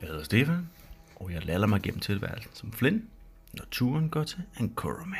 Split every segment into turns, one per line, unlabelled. hedder Stefan, og jeg lader mig gennem tilværelsen som Flynn, når turen går til Ankorome.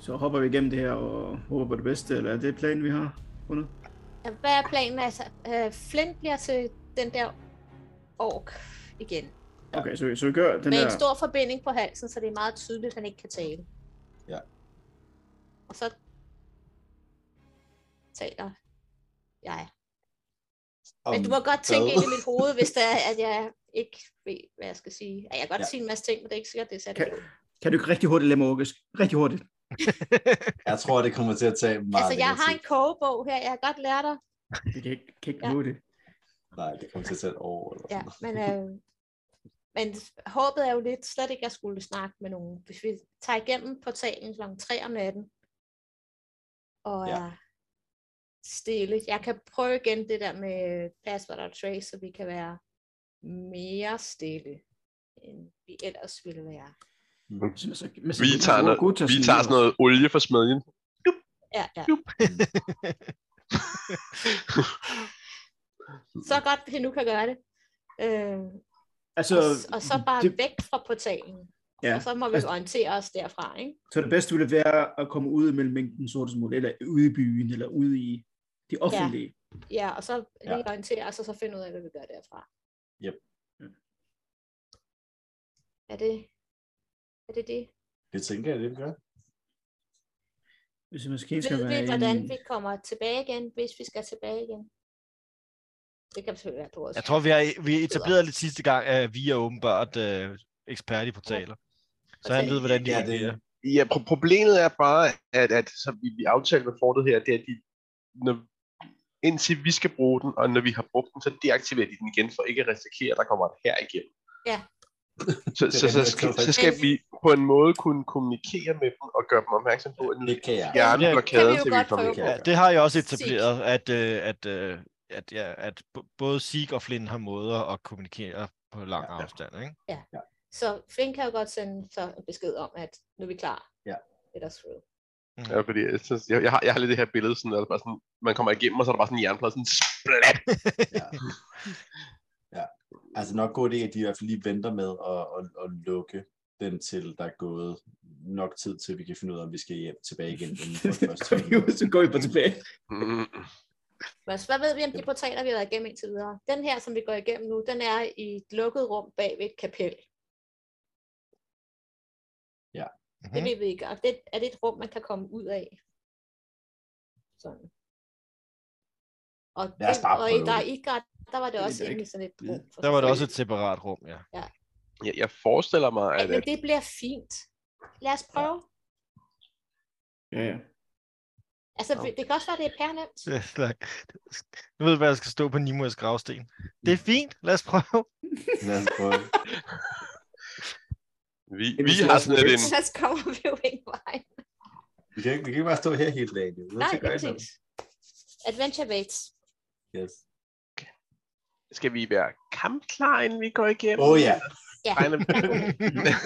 Så hopper vi igennem det her og håber på det bedste, eller er det planen, vi har fundet?
Ja, Hvad er planen? Altså, øh, Flint bliver til den der ork igen.
Okay, så, så vi gør den
Den med
der...
en stor forbinding på halsen, så det er meget tydeligt, at han ikke kan tale.
Ja.
Og så taler jeg. Men du må godt tænke
hvad?
ind i mit hoved, hvis det er, at jeg ikke ved, hvad jeg skal sige. Ja, jeg kan godt
Ja.
ja. sige en masse ting, men det er ikke sikkert, det er sandt.
Kan- Kan du ikke rigtig hurtigt lade mig orkisk? Rigtig hurtigt.
Jeg tror, det kommer til at tage meget
Altså, jeg
længere
har
tid.
en kogebog her, jeg kan godt lære dig.
Vi kan ikke, kan ikke
Ja.
nå det.
Nej, det kommer til at tage et år. Eller
Ja,
sådan noget.
men, øh, men håbet er jo lidt slet ikke, at jeg skulle snakke med nogen. Hvis vi tager igennem portalen kl. 3 om natten, og
Ja.
ja. er stille. Jeg kan prøve igen det der med password og trace, så vi kan være mere stille, end vi ellers ville være.
Så, så, men, så,
Vi tager, noget, vi tager sådan noget olie fra smedjen.
Ja, ja.
Jup.
Så godt, vi nu kan gøre det. Øh,
Altså,
og, s- og så bare
det-
det... væk fra portalen,
ja.
og så må vi
Altså-
orientere os derfra, ikke?
Så det bedste ville være at komme ud mellem mængden sorte små, eller ude i byen, eller ude i de offentlige.
Ja, og så lige
Ja.
ja. orientere os, og så finde ud af, hvad vi gør derfra.
Yep.
Mm.
Er det er det? det?
Det tænker jeg, det vi gør.
Hvis vi måske skal
Ved
være
vi, hvordan
en...
vi kommer tilbage igen, hvis vi skal tilbage igen? Det kan selvfølgelig være på os.
Jeg tror, vi har vi etableret lidt sidste gang, at vi er åbenbart øh, ekspert i portaler. Så
Altså,
han ved, hvordan de
Ja,
ja,
det-
det...
Ja, pro- problemet er bare, at, at som vi, vi aftalte med fortet her, det er, at de, når, indtil vi skal bruge den, og når vi har brugt den, så deaktiverer de den igen, for ikke at risikere, at der kommer et her igen.
Ja.
Så,
Det er
så, så,
rigtig
skal,
interessant.
så skal vi på en måde kunne kommunikere med dem og gøre dem opmærksom på, at nu
Det kan jeg.
Ja,
fjerne
det kan
blokaden,
vi jo
til vi
godt
kommer
prøve
væk
på.
her.
Ja, det har jeg også
Sig.
etableret, at, øh, at, øh, at, ja, at b- både Sig og Flynn har måder at kommunikere på lang
Ja.
afstand. Ikke?
Så Flink kan jo godt sende så en besked om, at nu er vi klar.
Ja.
Let us through.
Ja, fordi jeg, synes, jeg, jeg, har, jeg har lidt det her billede, sådan, at der bare sådan, man kommer igennem, og så er der bare sådan en jernplade, sådan splat.
Ja. ja. Altså nok god idé, at de i hvert fald lige venter med at, at, at lukke den til, der er gået nok tid til, at vi kan finde ud af, om vi skal hjem tilbage igen inden for første
Kom vi ud, så går vi bare tilbage.
Mm.
Men så hvad ved vi om de portaler, vi har været igennem indtil videre? Den her, som vi går igennem nu, den er i et lukket rum bag ved et kapel. Det
Mhm.
ved vi ikke. Og det, er det et rum, man kan komme ud af? Sådan. Og,
Lad os
den-
bare
og i,
prøve
der,
det.
i Grat, der var det
Det ved
også
jeg
inde i
ikke.
sådan et rum. for
Der var det
sig
også
selv.
et separat rum, ja.
Jeg, jeg forestiller mig,
Ej,
at,
men
at
det bliver fint. Lad os prøve. Ja.
Ja, ja.
Altså, vi- det kan også være, det er pernemt.
Det er slet- Nu ved jeg, hvad jeg skal stå på Nimuas gravsten. Det er fint, lad os prøve.
Lad os prøve.
vi,
Jamen,
vi
så
har
lad os
sådan lidt en...
Ellers kommer vi jo ingen vej.
Vi kan, ikke, vi kan ikke bare stå her hele dagen. Jo.
Nej, det er præcis. Adventure waits.
Yes.
Skal vi være kampklar, inden vi går igennem?
Åh oh, ja.
Ja.
Regner vi-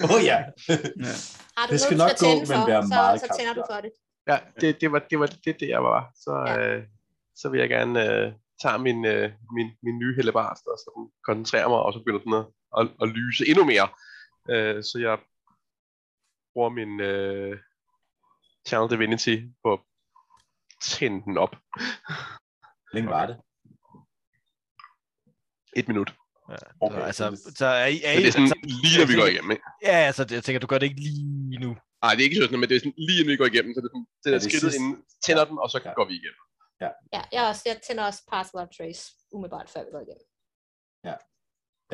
Åh oh, ja.
ja.
Har du
Det
noget,
skal
du
nok
skal
gå,
tænde
men
for,
være
så,
meget
så tænder du
kampklar.
for det.
ja, det, det, var, det var det, det jeg var. Så, øh, så vil jeg gerne øh, tage min, øh, min, min nye hellebarst, og så den koncentrerer mig, og så begynder den at, at, at lyse endnu mere. Øh, så jeg bruger min øh, Channel Divinity på at tænde den op.
Hvor længe var det?
Et minut.
Okay,
Okay,
så,
så
altså,
hvis-
så er I, er
Så
I,
det er sådan
altså,
så,
lige, når vi går igennem. Ikke?
ja, altså, det- jeg tænker, du gør det ikke lige nu.
Nej, det er ikke sådan, men det er sådan, lige når vi går igennem, så det er sådan, det
Ja,
der
det er
skridtet
sidst.
inden, tænder den, og så
Ja.
går vi igennem.
Ja, jeg, er også, jeg tænder også password trace umiddelbart, før vi går igennem.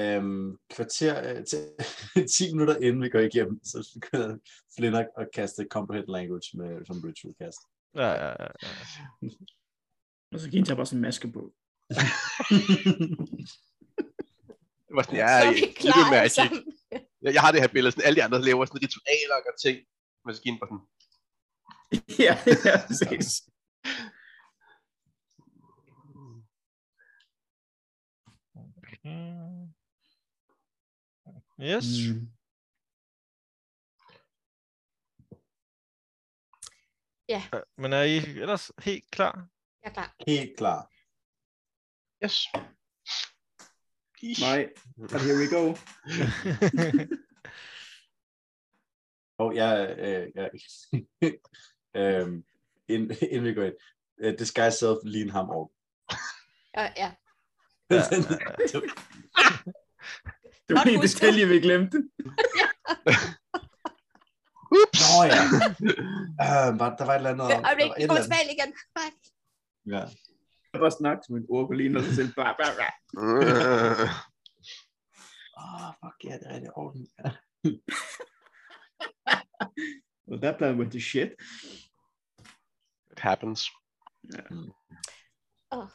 øhm, kvarter øh, til 10 minutter inden vi går igennem, så begynder Flynn at at kaste Comprehend Language med, som ritual cast.
Ja, ja, ja.
Og så kan I tage bare sådan en maske på.
Det var sådan, ja,
så er
jeg-
vi
det er
klar alle
magic.
sammen.
Jeg, jeg har det her billede, sådan alle de andre laver sådan ritualer og gør ting. Men så giver den bare sådan,
ja, ja, præcis.
Mm. Yes. Mm.
Mm.
Men er I ellers helt klar?
Jeg er klar.
Helt klar.
Yes.
Nej, but here we go.
Og jeg... Øh, jeg øhm, ind- inden vi går ind. Uh, disguise self, lean ham over.
Og, ja.
Ja.
Det var
Godt
en
husket.
detalje, vi glemte.
Nå ja. Uh, var, der var et eller andet...
Øh, Øjeblik,
der var
vi
et
kommer
eller andet.
tilbage igen. Nej.
Ja.
Jeg bare snakke til min ork og ligner sig selv. Blah, blah, blah.
Øh,
Åh, oh, fuck, ja, det er det orden.
Well, that plan went to shit.
It happens.
Åh,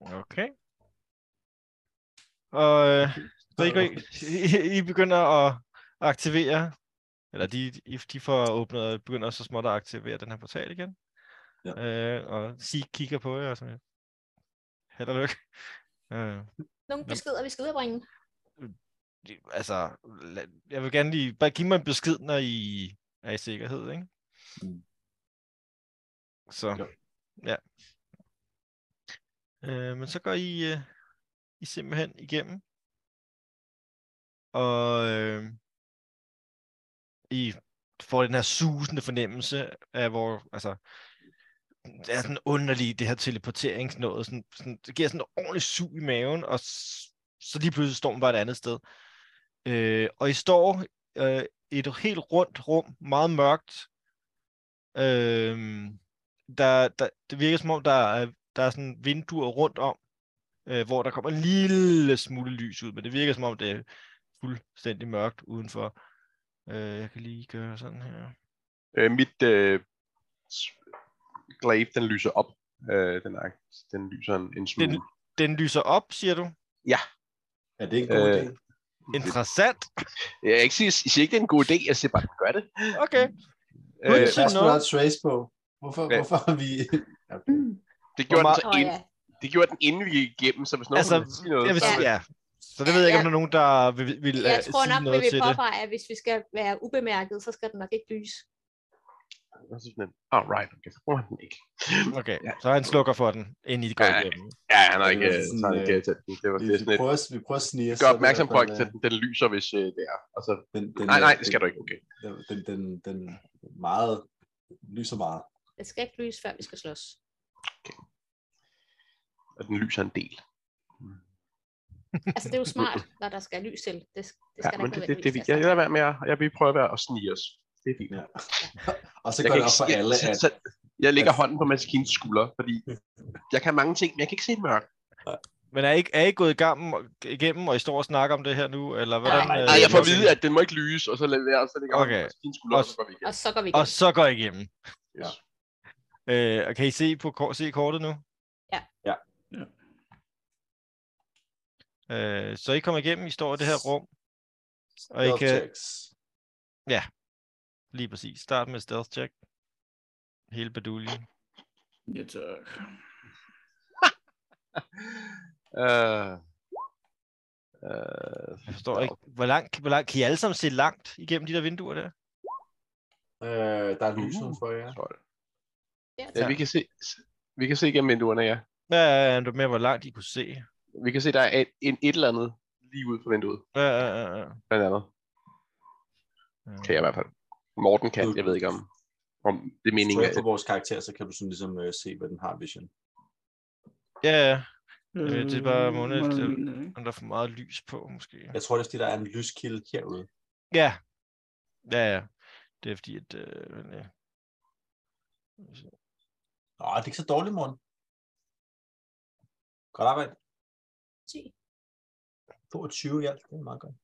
Okay. Og øh, så I, går i, I, I begynder at aktivere, eller de, I- de får åbnet og begynder så småt at aktivere den her portal igen. Ja. Øh, og Sig kigger på jer og sådan, held og lykke. Øh,
nogle
Nå.
beskeder, vi skal udbringe.
det- altså, la- jeg vil gerne lige, bare give mig en besked, når I er i sikkerhed, ikke?
Mm.
Så,
Jo.
ja. Øh, men så går I, øh, I simpelthen igennem, og øh, I får den her susende fornemmelse af, hvor, altså, det er sådan underlig, det her teleporteringsnåde, sådan, sådan, det giver sådan en ordentlig sug i maven, og s- så lige pludselig står man bare et andet sted. Øh, og I står øh, i et helt rundt rum, meget mørkt. Øh, der, der, det virker som om, der er, der er sådan vinduer rundt om, øh, hvor der kommer en lille smule lys ud, men det virker som om, det er fuldstændig mørkt udenfor. Øh, jeg kan lige gøre sådan her.
Øh, mit øh, s- glaive, den lyser op. Øh, den, er, den lyser en, en smule.
Den- Den lyser op, siger du.
Er det en god
Øh,
idé?
Interessant.
Jeg, er ikke, siger, jeg siger ikke, det er en god idé. Jeg siger bare, den gør det.
Okay.
Øh,
Øh,
øh,
ikke sige
der skulle
noget.
have trace på. Hvorfor,
Ja.
hvorfor har vi... Ja, okay.
Det gjorde, den,
meget-
så
Åh,
ind,
ja.
det gjorde den, inden vi gik igennem, så hvis nogen
Altså,
altså, ville sige noget,
Jeg vil
så
sige,
ville
ja. Så det ved jeg ikke, om
Ja.
der er nogen, der vil, vil
Jeg
øh,
tror
sige
nok, vi
noget
vil
til det.
påpege, at hvis vi skal være ubemærket, så skal den nok ikke lyse.
Og så sådan en, all right, okay, så bruger han den ikke.
Okay,
Ja.
så han slukker for den, inden I går
Ja,
igennem.
Ja, han har
Det
ikke
var
øh,
sådan,
så har han ikke
øh,
øh, talt den. Det var
Vi,
det er
vi,
sådan et,
prøver, at- vi prøver at snige os.
gør
selv,
opmærksom
i
på,
hvert
at
fald,
den, den lyser, hvis øh, det er. Og så,
øh, Den, den,
nej, nej,
øh,
det skal du ikke, okay.
Den, den, den, den meget lyser meget.
Den skal ikke lyse, før vi skal slås.
Og den lyser en del.
Altså, det er jo smart, når der skal lys til. Det, det
Ja,
skal der
men
ikke
det, det, det,
nødvendigvis altså.
jeg
være
lader være med at, jeg vil prøve at være og snige os. Det er fint.
Ja. Og så
Jeg,
går
kan
det
ikke,
op for
se- jeg,
alle,
så,
at
så, jeg lægger
at-
hånden på Maskins skulder, fordi jeg kan mange ting, men jeg kan ikke se mørk.
Men er I, ikke- er I ikke gået igennem, igennem, og I står og snakker om det her nu? Eller hvordan,
nej,
øh,
Nej, jeg får at
okay.
vide, at den må ikke lyse, og så lader jeg, og så lægger jeg hånden
Okay.
på Maskins skulder, og så
Og-
går vi
sådan. Og
igen.
så går vi igen.
Og så går I igennem.
Ja.
Øh, og kan I se, på, kor- se kortet nu?
Ja.
Ja.
Ja.
Øh, så I kommer igennem, I står i det her rum, og I
health
kan
checks.
lige præcis starte med stealth check. Hele baduljen.
Ja, tak.
Øh, øh,
Jeg forstår ikke, hvor langt, hvor langt, kan I alle sammen se langt igennem de der vinduer der?
Øh, der er lys
Uh.
udenfor, ja.
tror jeg.
Ja,
Ja, vi kan se, vi kan se igennem vinduerne, ja.
Ja, ja, ja, det var mere, hvor langt I kunne se.
Vi kan se, der er et, en, et eller andet lige ude for vinduet,
Ja, ja, ja, ja.
blandt andet.
Ja.
Kan jeg i hvert fald. Morten kan, jeg ved ikke om, om det er meningen.
Meningen
at-
på vores karakter, så kan du sådan ligesom øh, se, hvad den har vision.
Ja, ja. Øh, det er bare måned, det er- Men der er for meget lys på, måske.
Jeg tror, det er fordi, der er en lyskilde herude.
Ja. Ja, ja. Det er fordi, at... Øh, men, ja.
Nå, det er ikke så dårligt, morgen. Godt arbejde.
Ti.
22 i alt, det er meget godt.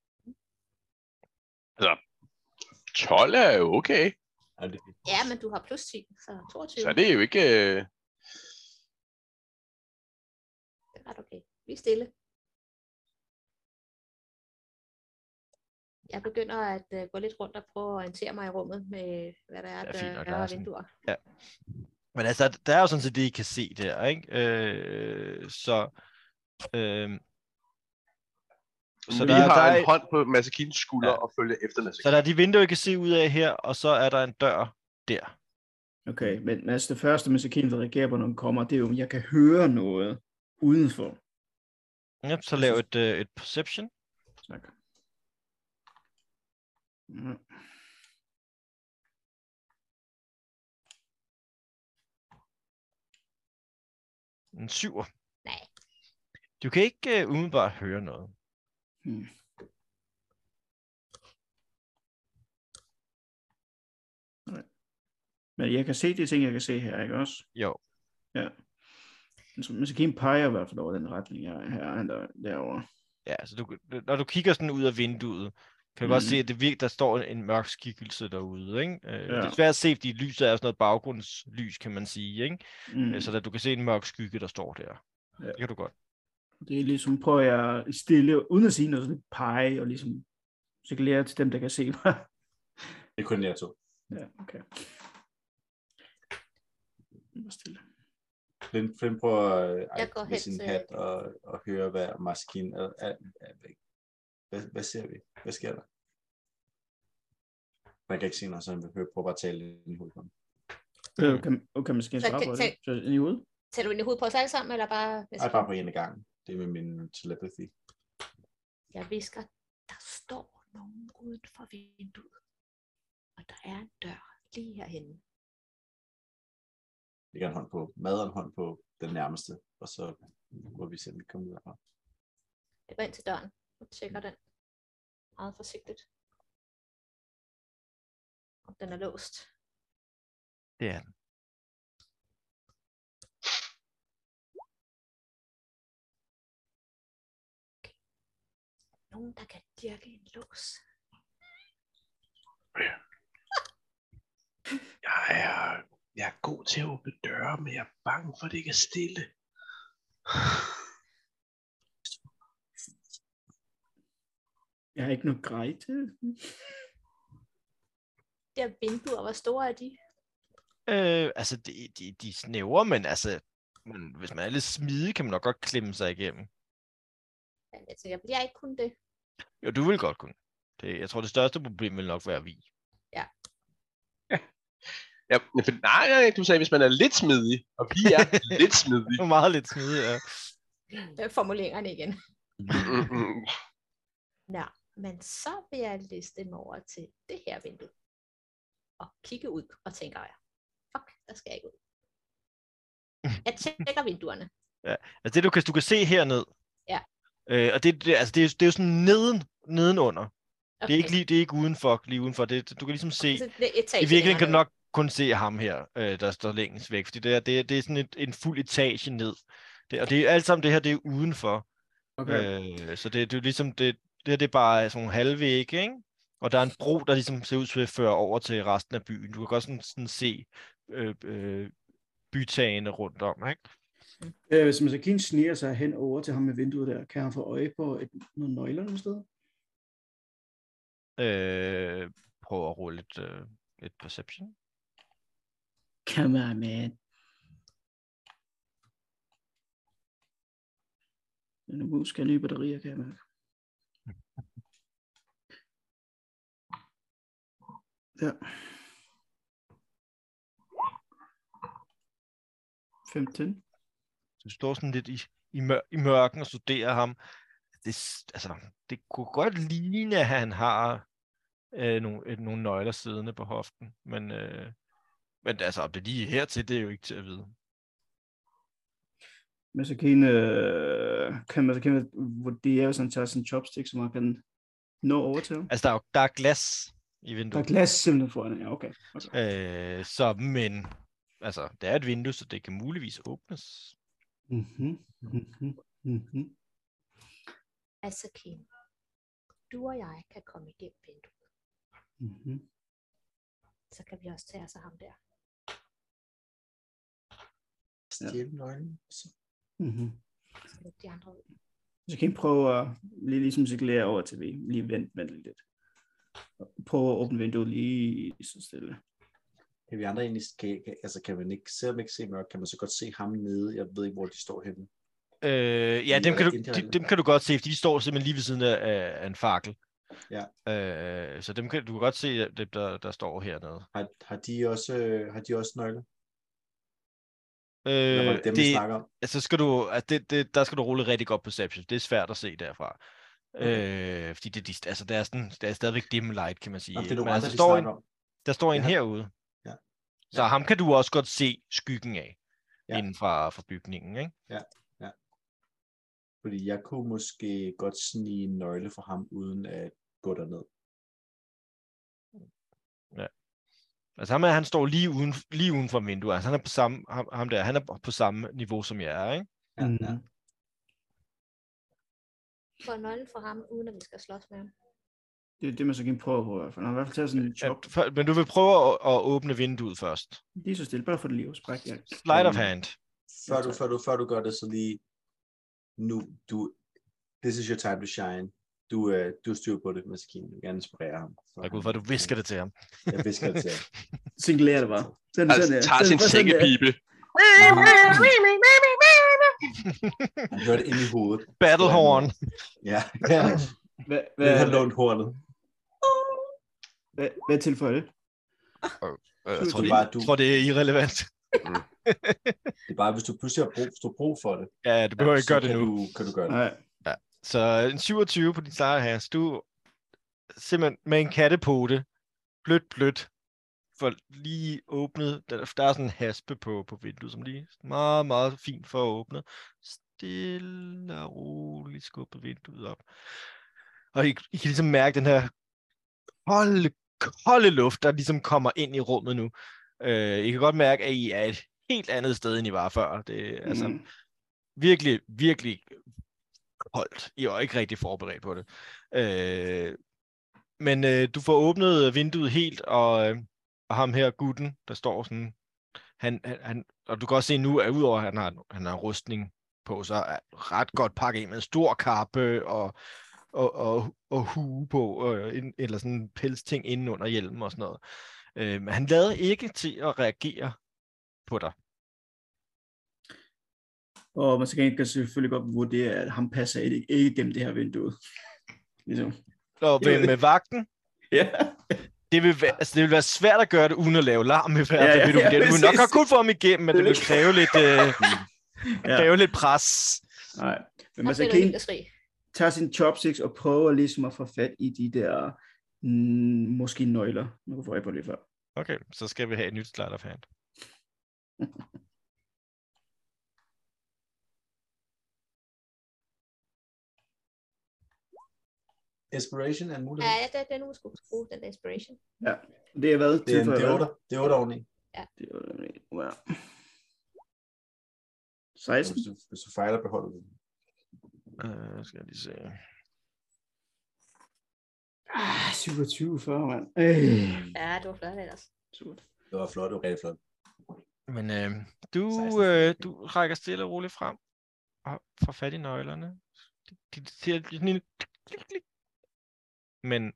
12 er jo okay.
Ja, det er fint.
ja, men du har plus 10, så 22.
Så er det jo ikke... Øh...
Det er ret okay. Vi er stille. jeg begynder at øh, gå lidt rundt og prøve at orientere mig i rummet med, hvad der er,
Det er
der,
fint nok,
der
der er
er
sådan-
vinduer.
Men altså, der- der er jo sådan set det, I kan se der, ikke? Øh, så øh,
Så vi
der-
har
der er-
en hånd på Masakins skulder
Ja.
og følger efter
så
Masakin.
der er de vinduer, I kan se ud af her, og så er der en dør der.
Okay, men altså det første, Masakin vil reagere på, når hun kommer, det er jo, at jeg kan høre noget udenfor.
Ja, så lav et, øh, et perception.
Tak. Mm.
En syver.
Nej.
Du kan ikke øh, umiddelbart høre noget.
Hmm. Nej. Men jeg kan se de ting, jeg kan se her, ikke også?
Jo.
Ja. Men så- Men så kan peger i hvert fald over den retning, jeg her er der, derovre.
Ja, så du, når du kigger sådan ud af vinduet, kan du mm. godt
Mhm.
se, at det virker, der står en, en mørk skikkelse derude. Ikke? Øh, Det
Ja.
er svært at se, fordi lyset er sådan noget baggrundslys, kan man sige. Ikke?
Mm.
Mm. Så da du kan se en mørk skygge, der står der. Ja.
Ja.
Det kan du godt.
Det er ligesom, prøver jeg stille, uden at sige noget, sådan pege og ligesom signalere til dem, der kan se mig.
Det er kun jer to.
ja, okay. Bare stille.
Flynn, Flynn prøver øh,
Jeg går
med
hen
sin
til-
hat og, og høre, hvad Maskin er, er, er væk. Hvad, hvad ser vi? Hvad sker der? Man kan ikke se noget, så han vil høre på at bare tale ind i hovedet. på ham.
Øh, kan, okay, man skal
Så
svare
kan-
på det.
så-
Så er I ude?
Tager du ind i hovedet på os alle sammen, eller bare...
Ej, bare på en af gangen. Det er med min telepathy.
Jeg visker, der står nogen uden for vinduet. Og der er en dør lige herhenne.
lægger en hånd på mad og en hånd på den nærmeste, og så må vi se, om vi kommer ud derfra.
Jeg går ind til døren og tjekker
Mm.
den. Meget forsigtigt. Og den er låst.
Det er den.
Nogen, der kan dirke en lås.
Jeg er, jeg er god til at åbne døre, men jeg er bange for, at det ikke er stille.
Jeg har ikke noget grej til.
De her vinduer, hvor store er de?
Øh, altså, de, de, de snæver, men altså, men hvis man er lidt smidig, kan man nok godt klemme sig igennem.
Men jeg tænker, bliver ikke kun det.
Jo, du vil godt kunne. Det, jeg tror, det største problem vil nok være vi.
Ja, men for, nej, nej, du sagde, hvis man er lidt smidig, og vi er lidt smidige.
Du er meget lidt smidig, ja.
Øh, Formuleringerne igen.
Mm, mm, mm.
Nå, men så vil jeg liste dem over til det her vindue. Og kigge ud og tænker jeg, fuck, der skal jeg ikke ud. Jeg tjekker vinduerne.
Altså det, du kan, du kan se herned.
Ja.
Øh, og det, det, altså, det, er, jo- det er jo sådan neden, nedenunder. Okay. Det, er ikke lige, det er ikke udenfor, lige udenfor. Det, du kan ligesom se,
Så Altså, det er
i
etagen
virkeligheden kan du
længere
nok kun se ham her, øh, der står længst væk. Fordi det, er, det, er- det er sådan et, en fuld etage ned. Det, og det er alt sammen det her, det er udenfor. Øh, så det, det er ligesom, det, det her det er bare sådan nogle halvvægge, ikke? Og der er en bro, der ligesom ser ud til at føre over til resten af byen. Du kan godt sådan, sådan se øh, øh, bytagene rundt om, ikke?
Øh, hvis Masakin sniger sig hen over til ham med vinduet der, kan han få øje på et, nogle nøgler nogle steder?
Øh, prøv at rulle et, øh, et perception.
Come on, man. Denne mus skal have nye batterier, kan jeg mærke. Ja. 15.
Du står sådan lidt i, i, mør, i mørken og studerer ham. Det, s- altså, det kunne godt ligne, at han har øh, nogle, øh, nogle nøgler siddende på hoften. Men, øh, men altså, om det lige er hertil, det er jo ikke til at vide.
Masakin, øh, kan Masakin vurdere, hvis han tager sin chopstick, så man kan nå over til ham?
Altså, der er, jo- der er glas i
Der er
vinduet.
glas simpelthen foran ham. Ja, okay. okay.
Øh, så, men altså, det er et vindue, så det kan muligvis åbnes.
Mm-hmm. Mm-hmm. Mm-hmm.
Altså Kim, du og jeg kan komme igennem vinduet,
Mm-hmm.
så kan vi også tage os af ham der.
Stjæl nøglen. Så.
Mm-hmm.
Så lukke de andre ud.
Så kan I prøve at lige ligesom cirkulere over til vi lige vent, vent lidt. Prøv at åbne vinduet lige så stille.
Kan vi andre egentlig, kan, kan- altså kan man ikke, selvom man ikke se mørkt, kan man så godt se ham nede, jeg ved ikke, hvor de står henne.
Øh, ja,
De
dem
er
kan, du,
indirekte.
de, dem kan du godt se, fordi de står simpelthen lige ved siden af, af en fakkel.
Ja.
Øh, så dem kan du kan godt se, dem, der, der står hernede.
Har, har, de, også, øh, har de også nøgler? Eller var
Øh,
det dem, det... vi
det,
snakker om?
altså skal du, altså det, det, der skal du rulle rigtig godt perception. Det er svært at se derfra. Øh, fordi det, de, altså, der, er sådan, der er stadigvæk dim light, kan man sige.
Nå, det er nogle
Men
andre,
altså,
vi
står en,
snakker om.
der står en
Ja.
herude.
Ja.
Så
Ja.
ham kan du også godt se skyggen af
Ja.
inden fra, fra bygningen. Ikke?
Fordi jeg kunne måske godt snige en nøgle for ham, uden at gå derned.
Altså ham, er, han står lige uden, lige uden for vinduet. Altså, han er på samme, ham, ham der, han er på samme niveau som jeg er. Ikke?
Ja, ja.
Mhm.
Får nøglen fra ham, uden at vi skal slås med ham.
Det er det, man så kan prøve på i hvert fald. Han har i hvert fald taget sådan en
Ja,
chop.
før- men du vil prøve at, at åbne vinduet først.
Lige så stille, bare for det liv. Spræk, ja.
Slide of
Øhm,
hand.
Før,
Ja,
du,
tak.
før, du, før du gør det, så lige nu, du, this is your time to shine. Du, øh, du styrer på det, Maskinen. Du gerne inspirere ham. Så
Jeg går
han-
ud fra, at du visker det til ham.
Jeg visker det til ham.
Singulære det var. Sådan,
Altså,
der.
tager sin
Sådan der.
sækkepibe.
Han hører det ind i hovedet.
Battlehorn.
Ja, ja.
Hvad,
Det
hvad,
har lånt hornet.
hvad, hvad tilføjer det?
Øh, Jeg
Det
tror,
er
det,
bare,
jeg
du-
tror, det er irrelevant.
Det er bare, hvis du pludselig har brug, hvis du har brug for det,
Ja, du behøver
så
ikke gøre det
kan,
nu.
Du, kan du gøre det.
Nej.
Så en 27 på din sejr her. så Du simpelthen med en kattepote, blødt, blødt, for lige åbnet. Der, der er sådan en haspe på, på vinduet, som lige meget, meget fint for at åbne. Stille og roligt skubbet vinduet op. Og I, I kan ligesom mærke den her kolde, kolde luft, der ligesom kommer ind i rummet nu. Øh, I kan godt mærke, at I er et helt andet sted, end I var før. Det, er altså,
Mm.
virkelig, virkelig koldt. I var ikke rigtig forberedt på det. Øh, men øh, du får åbnet øh, vinduet helt, og, øh, og ham her, gutten, der står sådan, han, han- han, og du kan også se nu, at udover at han har, han har rustning på, så er han ret godt pakket ind med en stor kappe og, og, og, og hue på, øh, en, eller sådan en pelsting inden under hjelmen og sådan noget. Øh, men han lader ikke til at reagere på dig.
Og man skal kan selvfølgelig godt vurdere, at ham passer ikke, ikke gennem det her vindue. Ligesom.
Og
Jeg
med,
ved-
med vagten,
Ja.
Det vil, være, altså, det vil være svært at gøre det uden at lave larm i hvert fald.
Ja,
Ja,
ja,
ja, du,
ja,
ja, du vil nok
præcis.
have kunne få ham igennem, men det vil kræve lidt, øh,
Ja.
kræve lidt pres.
Nej. Men
Og
man
så
skal
er
kan
helt at skrige.
tage sin chopsticks og prøve ligesom at få fat i de der mm, måske nøgler, man kunne få øje på lige før.
Okay, så skal vi have et nyt slide of hand.
Inspiration er en mulighed.
Ja, ja, det er den, hun skulle bruge, den der inspiration.
Det har været
Det er, det er
hvad?
8, det er 8 oveni.
Det er otte, Wow.
Så
16?
Hvis du, hvis du fejler, beholder du den.
Øh, skal jeg lige se.
Ah, 27 40, mand. Øh.
Ja, det var flot ellers.
Surt.
Det var flot, det var rigtig flot.
Men øh, du,
16.
øh, du rækker stille og roligt frem og får fat i nøglerne. De, de, de siger sådan en klik, klik. Men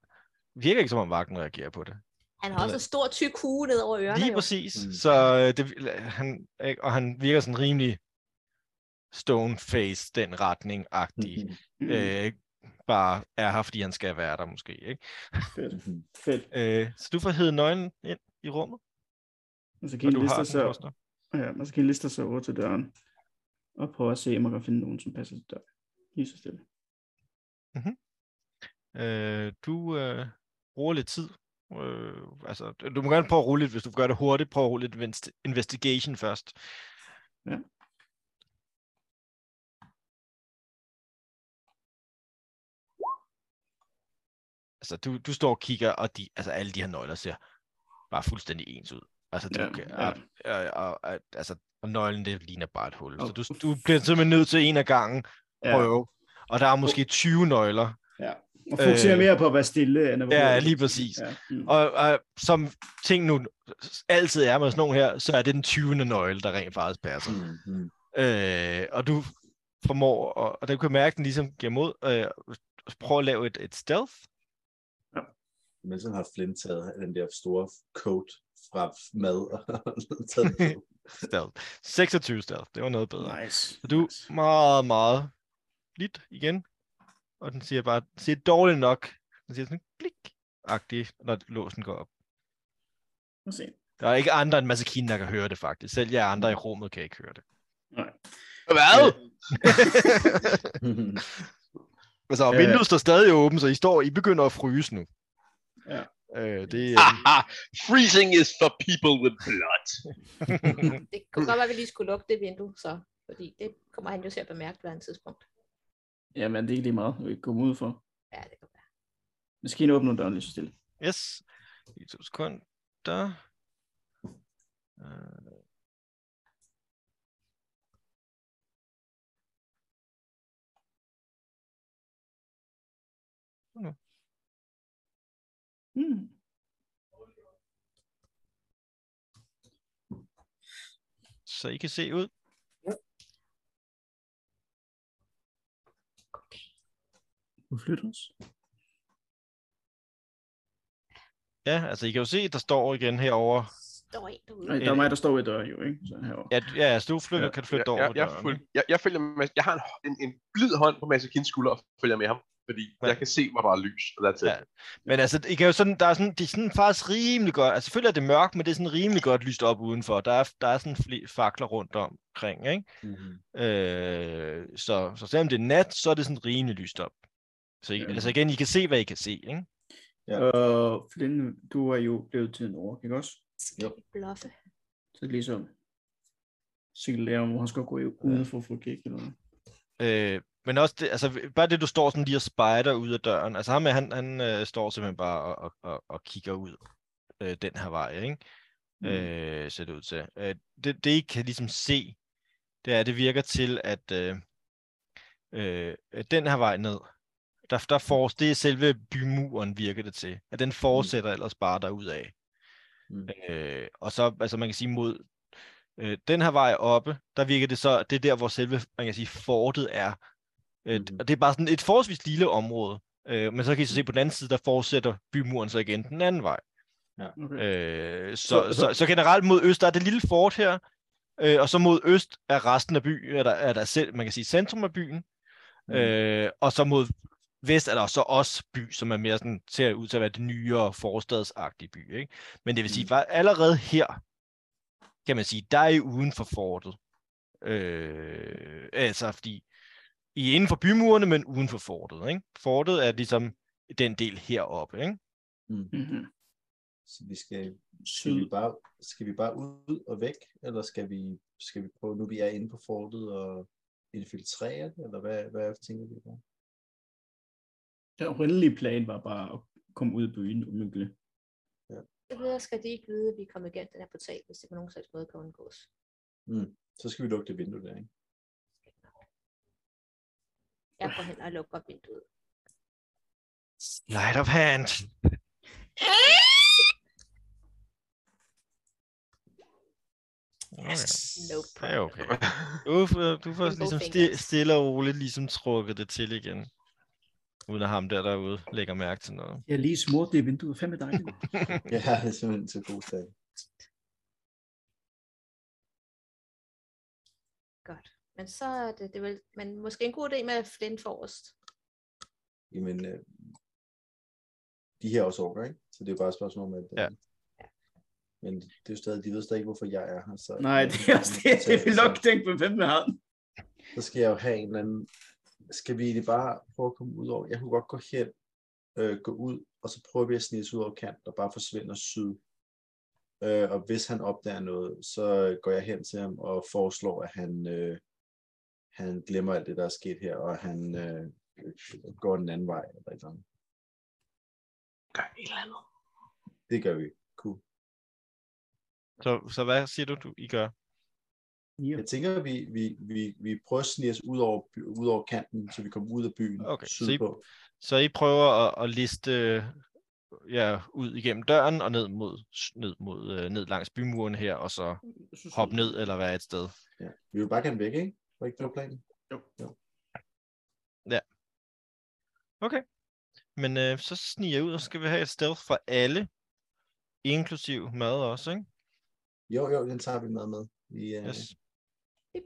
virker ikke, som om vagten reagerer på det.
Han har også en stor tyk hue ned over ørerne.
Lige
jo.
præcis.
Mm.
Mm. Så øh, det, vil- han, ikke? og han virker sådan rimelig stone-face, den retning-agtig.
Mhm.
Mm,
Øh, bare er her, fordi han skal være der måske. Ikke?
fedt.
Mhm.
Fedt.
Øh, så du får hed nøglen ind i rummet,
Man skal
og
kan
du har
lister
den
sig,
også.
ja, man skal lister sig over til døren. Og prøve at se, om man kan finde nogen, som passer til døren. Lige så stille.
Øh, du øh, bruger lidt tid. Øh, altså, du du må gerne prøve at rulle lidt, hvis du gør det hurtigt. Prøv at rulle lidt invest- investigation først.
Ja.
Altså, du, du står og kigger, og de, altså, alle de her nøgler ser bare fuldstændig ens ud. Altså, du,
Ja,
ja, kan,
ja.
ja. Og, og, og, altså, og nøglen, det ligner bare et hul. Så
Og-
du, du bliver simpelthen nødt til en af gangen
Ja,
prøve. Og der er måske 20 nøgler,
og fokusere
øh,
mere på at være stille, end at være
Ja,
hurtig.
lige præcis.
Ja, mm.
Og, og som ting nu altid er med sådan nogle her, så er det den 20. nøgle, der rent faktisk passer.
Mhm.
Øh, og du formår, og, og du kan mærke, at den ligesom giver mod. Øh, prøv at lave et, et stealth.
Ja.
Men sådan har Flynn taget den der store coat fra mad og taget den på.
Stealth. 26 stealth, det var noget bedre.
Nice.
Så du meget, meget lidt igen. Og den siger bare, den siger dårligt nok. Den siger sådan blik-agtig, når låsen går op.
Lad os se.
Der er ikke andre end Masakine, der kan høre det faktisk. Selv jer andre i rummet kan ikke høre det.
Nej.
Hvad?
altså, og
Ja.
vinduet står stadig åbent, så I står, I begynder at fryse nu.
Ja.
Øh, det, er-
Ah!
Haha, freezing is for people with blood.
Det kunne godt være, at vi lige skulle lukke det vindue, så. Fordi det kommer han jo til at bemærke på et tidspunkt.
Jamen, det er ikke lige meget. Vi kan komme ud for.
Ja, det kan være.
Maskinen åbner døren lige så stille.
øh, yes. I to sekunder. Øh,
Mm.
så I kan se ud.
Du flytter os.
Ja, altså I kan jo se, der står igen herovre.
Står en derude.
Nej, der
Øh.
er mig, der står ved døren jo, ikke? Så herovre.
Ja, ja altså, du flytter,
Ja,
kan du flytte
Jeg,
over
jeg, jeg,
døren,
føl- jeg, jeg, følger med, jeg har en, en, en blid hånd på Masakins skulder og følger med ham, fordi
Ja.
jeg kan se, hvor der er lys. Og der er
Ja. Men altså, I kan jo sådan, der er sådan, det er sådan faktisk rimelig godt. Altså, selvfølgelig er det mørkt, men det er sådan rimelig godt lyst op udenfor. Der er, der er sådan flere fakler rundt omkring, ikke?
Mm-hmm.
Øh, så, så selvom det er nat, så er det sådan rimelig lyst op. Så I,
Ja.
altså igen, I kan se, hvad I kan se, ikke?
Ja.
Og Flynn, du er jo blevet til en ork, ikke også?
Jo.
Bluffe.
Så ligesom cirkulære, hvor han skal gå i- udenfor for at kigge eller noget.
Øh, men også det, altså, bare det, du står sådan lige og spejder ud af døren. Altså ham, her, han, han øh, står simpelthen bare og, og, og, og kigger ud øh, den her vej, ikke? Mm. Øh, ser det ud til. Øh, det, det, I kan ligesom se, det er, at det virker til, at øh, øh, at den her vej ned, der, der for, det er selve bymuren, virker det til. At den fortsætter ellers bare derudad.
Mm.
Øh, og så, altså man kan sige mod øh, den her vej oppe, der virker det så, det er der, hvor selve, man kan sige, fortet er. Øh,
Mhm.
mm-hmm. Og det er bare sådan et forholdsvis lille område. Øh, men så kan I så se på den anden side, der fortsætter bymuren så igen den anden vej.
Okay.
Øh, så, så, så generelt mod øst, der er det lille fort her, øh, og så mod øst er resten af byen, er der, er der selv, man kan sige centrum af byen,
Mm.
mm. øh, og så mod vest er der så også by, som er mere sådan, ser ud til at være det nyere forstadsagtige by. Ikke? Men det vil sige, mm. allerede her, kan man sige, der er I uden for fortet. Øh, altså, fordi I er inden for bymurene, men uden for fortet. Ikke? Fortet er ligesom den del heroppe. Ikke? Øh.
Mm-hmm.
Så vi skal, skal,
Syd.
vi bare, skal vi bare ud og væk, eller skal vi, skal vi prøve, nu vi er inde på fortet, og infiltrere det, eller hvad, hvad tænker vi på?
Den oprindelige plan var bare at komme ud i byen umiddelbart.
Det ved jeg, skal de ikke vide, at vi er kommet igennem den her portal, hvis det på nogen slags måde kan undgås.
Mm. Så skal vi lukke det vindue der, ikke?
Jeg går hen og lukker vinduet.
Light of hand. Yes.
No
Det er
problem.
okay. Du, får- du får
Rainbow
ligesom sti-
fingers.
stille og roligt ligesom trukket det til igen. Uden at ham der derude lægger mærke til noget.
Jeg har lige smurt det i vinduet. Fem dejligt.
Ja, det er simpelthen så god sag.
Godt. Men så er det, det er vel, men måske en god idé med Flint forrest.
Jamen, øh, de her er også orker, ikke? Så det er jo bare et spørgsmål om, at... øh,
Ja.
Men det er jo stadig, de ved stadig ikke, hvorfor jeg er her. Så,
Nej, det er også det. Det vil nok
Så,
tænke på, hvem med ham.
så skal jeg jo have en eller anden... Skal vi egentlig bare prøve at komme ud over... Jeg kunne godt gå hen, øh, gå ud, og så prøver vi at snige os ud over kanten og bare forsvinde os syd. Øh, og hvis han opdager noget, så går jeg hen til ham og foreslår, at han, øh, han glemmer alt det, der er sket her, og han øh, går den anden vej. Eller et eller andet.
Gør et eller andet.
Det gør vi. Cool.
Så, så hvad siger du, du I gør?
Jeg tænker, at vi, vi, vi, vi prøver at snige os ud over, by- ud over kanten, så vi kommer ud af byen
Okay, så I-
sydpå.
Så I prøver at, at liste ja, ud igennem døren og ned mod ned mod øh, ned langs bymuren her og så
Mhm.
hoppe ned eller være et sted.
Ja. Vi vil bare gerne væk, ikke? Var ikke det var planen?
Okay. Men øh, så sniger jeg ud, og så skal vi have et stealth for alle. Inklusiv mad også, ikke?
Jo, jo, den tager vi med med. Vi, øh,
Yes.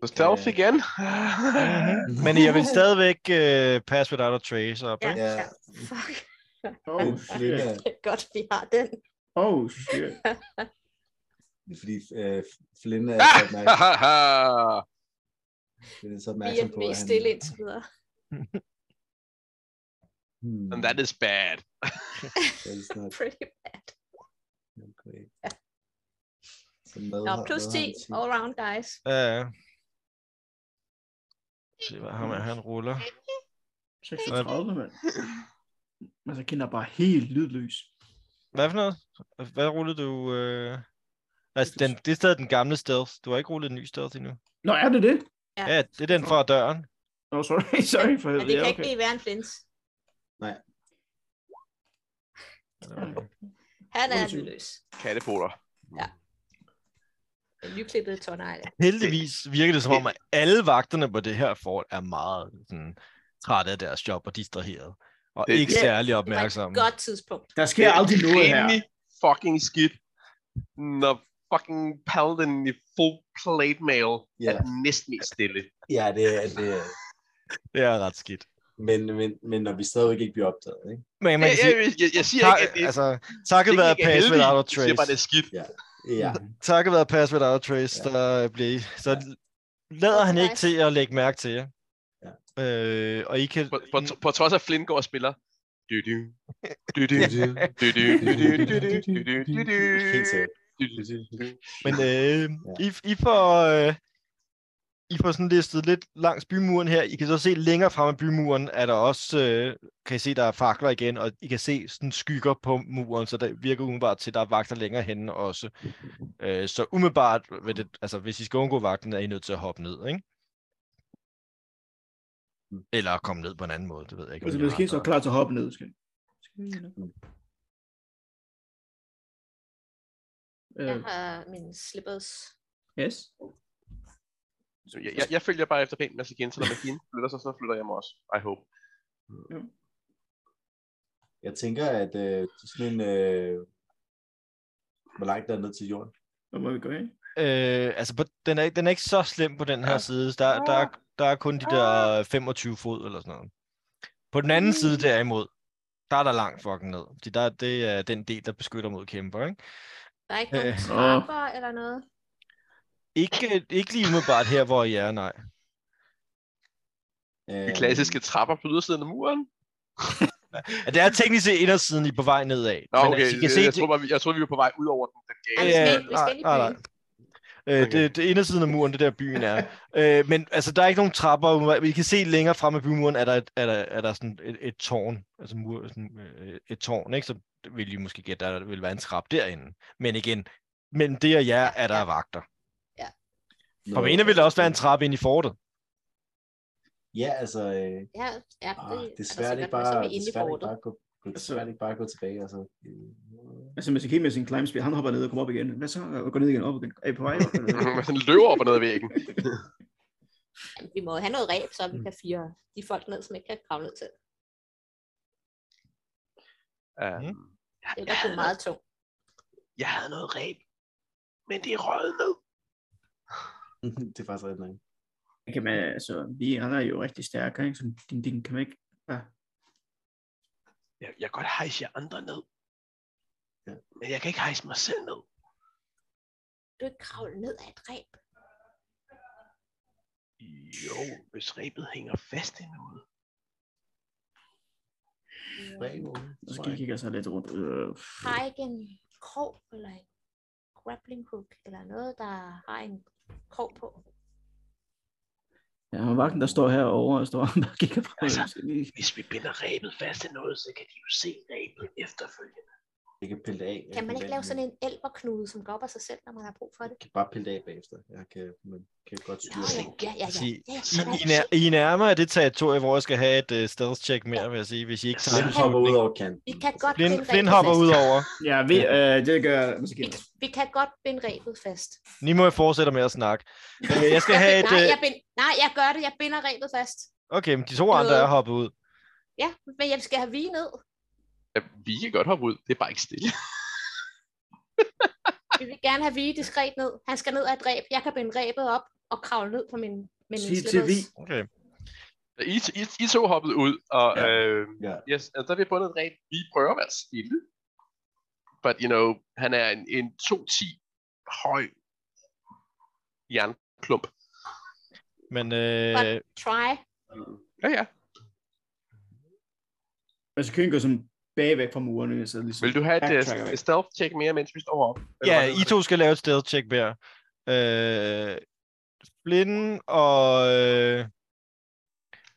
Så stealth
Øh.
igen.
Mm-hmm. Men jeg vil stadigvæk øh, pass without a trace op,
Ja,
ikke?
Ja.
ja. Fuck.
Oh,
Den
shit.
flytter,
Det er godt, vi har den.
Oh, shit.
fordi øh, Flynn er så opmærksom,
Ah!
Flynn er så
Vi
opmærksom
er
på,
mest stille indtil videre.
Hmm,
And that is bad.
that is not
Pretty bad.
great. Så med
Nå,
har-
plus
med
10
har vi
all round, guys.
Ja, ja. Se, hvad ham er, han ruller.
36, mand. Altså, kender bare helt lydløs.
Hvad for noget? Hvad rullede du? Øh... Altså, den, det er stadig den gamle stealth. Du har ikke rullet en ny stealth endnu.
Nå, er det det?
Ja.
Ja, det er den fra døren.
Nå, oh, sorry, sorry for
Men det
ja,
kan ikke
okay.
lige være en flint. Han er
Undskyld.
lydløs.
Kattepoler.
En nyklippet tårnegle.
Heldigvis virker det som om, at alle vagterne på det her fort er meget sådan, trætte af deres job og distraheret. Og
Det-
ikke
Ja,
særlig
Det var
opmærksomme.
et godt tidspunkt.
Der sker aldrig noget her.
rimelig fucking skidt, når fucking paladin i full plate mail
Ja.
er næsten mest stille.
Ja, det er det. Er.
Det er ret skidt.
Men, men, men når vi stadigvæk ikke bliver opdaget, ikke?
Men
Jeg,
man kan
jeg,
sige,
jeg, jeg siger
tak,
ikke, at det
altså,
det
takket
ikke
være
er
Pass
heldigt.
Without a
Jeg siger bare, det
Trace,
er skidt.
Ja,
takket være Pass Without a Trace,
Ja.
der bliver I- så lader han ikke
Nice.
til at lægge mærke til jer.
Ja.
Øh, og I kan...
På, på, på trods af at Flynn går og spiller. Du-du. Du-du. Du-du. Du-du. Du-du. Du-du. Du-du.
helt sikkert.
Du-du.
Men øh, I, I får... Øh, I får sådan listet lidt langs bymuren her. I kan så se længere frem af bymuren, er der også, øh, kan I se, der er fakler igen, og I kan se sådan skygger på muren, så der virker umiddelbart til, at der er vagter længere henne også. Øh, så umiddelbart, vil det, altså, hvis I skal undgå vagten, er I nødt til at hoppe ned, ikke? Eller komme ned på en anden måde, det ved jeg ikke. om
Altså,
I
vi
har
skal så
andre.
klar til at hoppe ned. Skal. vi? Skal vi ned?
Jeg
Øh,
har mine slippers.
yes.
Jeg, jeg, jeg følger bare efter pænt masse igen, så når maskinen flytter sig, så flytter jeg mig også. I hope.
Jeg tænker, at øh, sådan en... Øh, hvor langt der er ned til jorden?
Hvor må vi gå hen?
Øh, altså, på, den, er, den er ikke så slem på den her
Ja.
side. Der, der, er, der er kun de
Ah.
der 25 fod eller sådan noget. På den anden side
Mm.
derimod, der er der langt fucking ned. Fordi der, det er den del, der beskytter mod kæmper, ikke?
Der er ikke nogen
Øh.
trapper eller noget.
Ikke, ikke lige umiddelbart her, hvor I er, nej.
Øh,
De klassiske trapper på ydersiden af muren.
Ja, Det er teknisk set indersiden, I er på vej nedad.
Nå,
Men
okay.
altså, I kan
Jeg,
se,
jeg,
det-
tror, bare, vi- jeg tror, vi var på vej ud over den, den
Ej, vi
gale.
Ja,
skal ikke, vi skal ikke
nej,
i
nej,
byen.
Øh,
Okay.
det, det indersiden af muren, det der byen er. øh, men altså, der er ikke nogen trapper. umiddelbart. Vi kan se længere frem af bymuren, er der, et, er der, er der sådan et, et tårn. Altså mur, sådan, øh, et tårn, ikke? Så vil I måske gætte, at der vil være en trap derinde. Men igen, mellem det og jer er der vagter.
noget-
For mener vil der også være en trappe ind i fortet.
Ja, altså... Øh,
Ja, ja, det, altså,
ah, det er
der
svært
sikkert
ikke
noget, så er
bare,
vi
det
inde
er
i
svært ikke
fortet.
bare at gå, det er svært ikke bare at gå tilbage. Altså. Øh,
Altså, man skal med sin climb speed. Han hopper ned og kommer op igen. Hvad så? Og går ned igen op igen. Er I på vej? op?
Altså-
Den løber op og ned ad væggen.
Mhm.
Vi må have noget ræb, så vi
Mm.
kan fire de folk ned, som ikke kan kravle ned til.
Um,
Mm.
Det er jo meget tungt.
jeg havde noget ræb, men det er røget ned.
det er faktisk rigtig langt.
kan man, altså, vi andre er jo rigtig stærke, ikke? Så din, din kan man ikke bare...
Jeg, jeg kan godt hejse jer andre ned.
Ja.
Men jeg kan ikke hejse mig selv ned.
Du kan ikke kravle ned af et ræb.
Jo, hvis ræbet hænger fast i noget.
Bravo.
Så skal jeg kigge sig lidt rundt. Øh, pff.
Har ikke en krog eller en grappling hook eller noget, der har en krog på.
Ja, og vagten, der står herovre, og står der kigger på.
Altså.
Skal vi...
Hvis vi binder ræbet fast til noget, så kan de jo se ræbet efterfølgende.
Jeg kan pille det af. Jeg
Kan man
pille det
ikke
af
lave
nu.
sådan en elverknude, som går op af sig selv, når man har brug for det?
Jeg kan bare pille det af bagefter. Jeg kan, man kan godt
Nå,
styre
ja,
det.
ja, ja, ja.
Sige,
ja,
I,
ja,
I, nær, I er nærmere det territorie, hvor jeg skal have et uh, stealth check mere, vil jeg sige, hvis I ikke tager
Flynn
en
hopper ud
beslutning.
over kanten.
Vi kan godt
Flynn,
binde
Flynn
rebet
hopper
fast.
ud over.
Ja, vi, øh, det gør jeg måske.
Vi, vi kan godt binde rebet fast.
Ni må jeg fortsætte med at snakke. Øh, jeg skal
Jeg
have
bind,
et...
nej,
øh,
jeg bind, nej, jeg gør det. Jeg binder rebet fast.
Okay, men de to andre er hoppet ud.
Ja, men jeg skal have vi ned.
Ja, vi kan godt hoppe ud, det er bare ikke stille.
Vi vil gerne have Vige diskret ned. Han skal ned af et ræb. Jeg kan binde ræbet op og kravle ned på min, med min
Sig til
slippers.
Vi.
Okay.
I, I, I to hoppede ud, og
Ja.
ja. øh,
Ja.
yes, altså, der er vi bundet et rent. Vi prøver at være stille. But you know, han er en, en 2-10 høj jernklump.
Men øh,
Try.
Ja, ja.
Altså, køen går sådan bagvæk fra murene, så ligesom...
Vil du have et,
backtracker
øh,
væk.
et stealth check mere, mens vi står heroppe? Eller
ja,
hvordan er
I
det?
to skal lave et stealth check hver. Øh, Blinden og... Øh,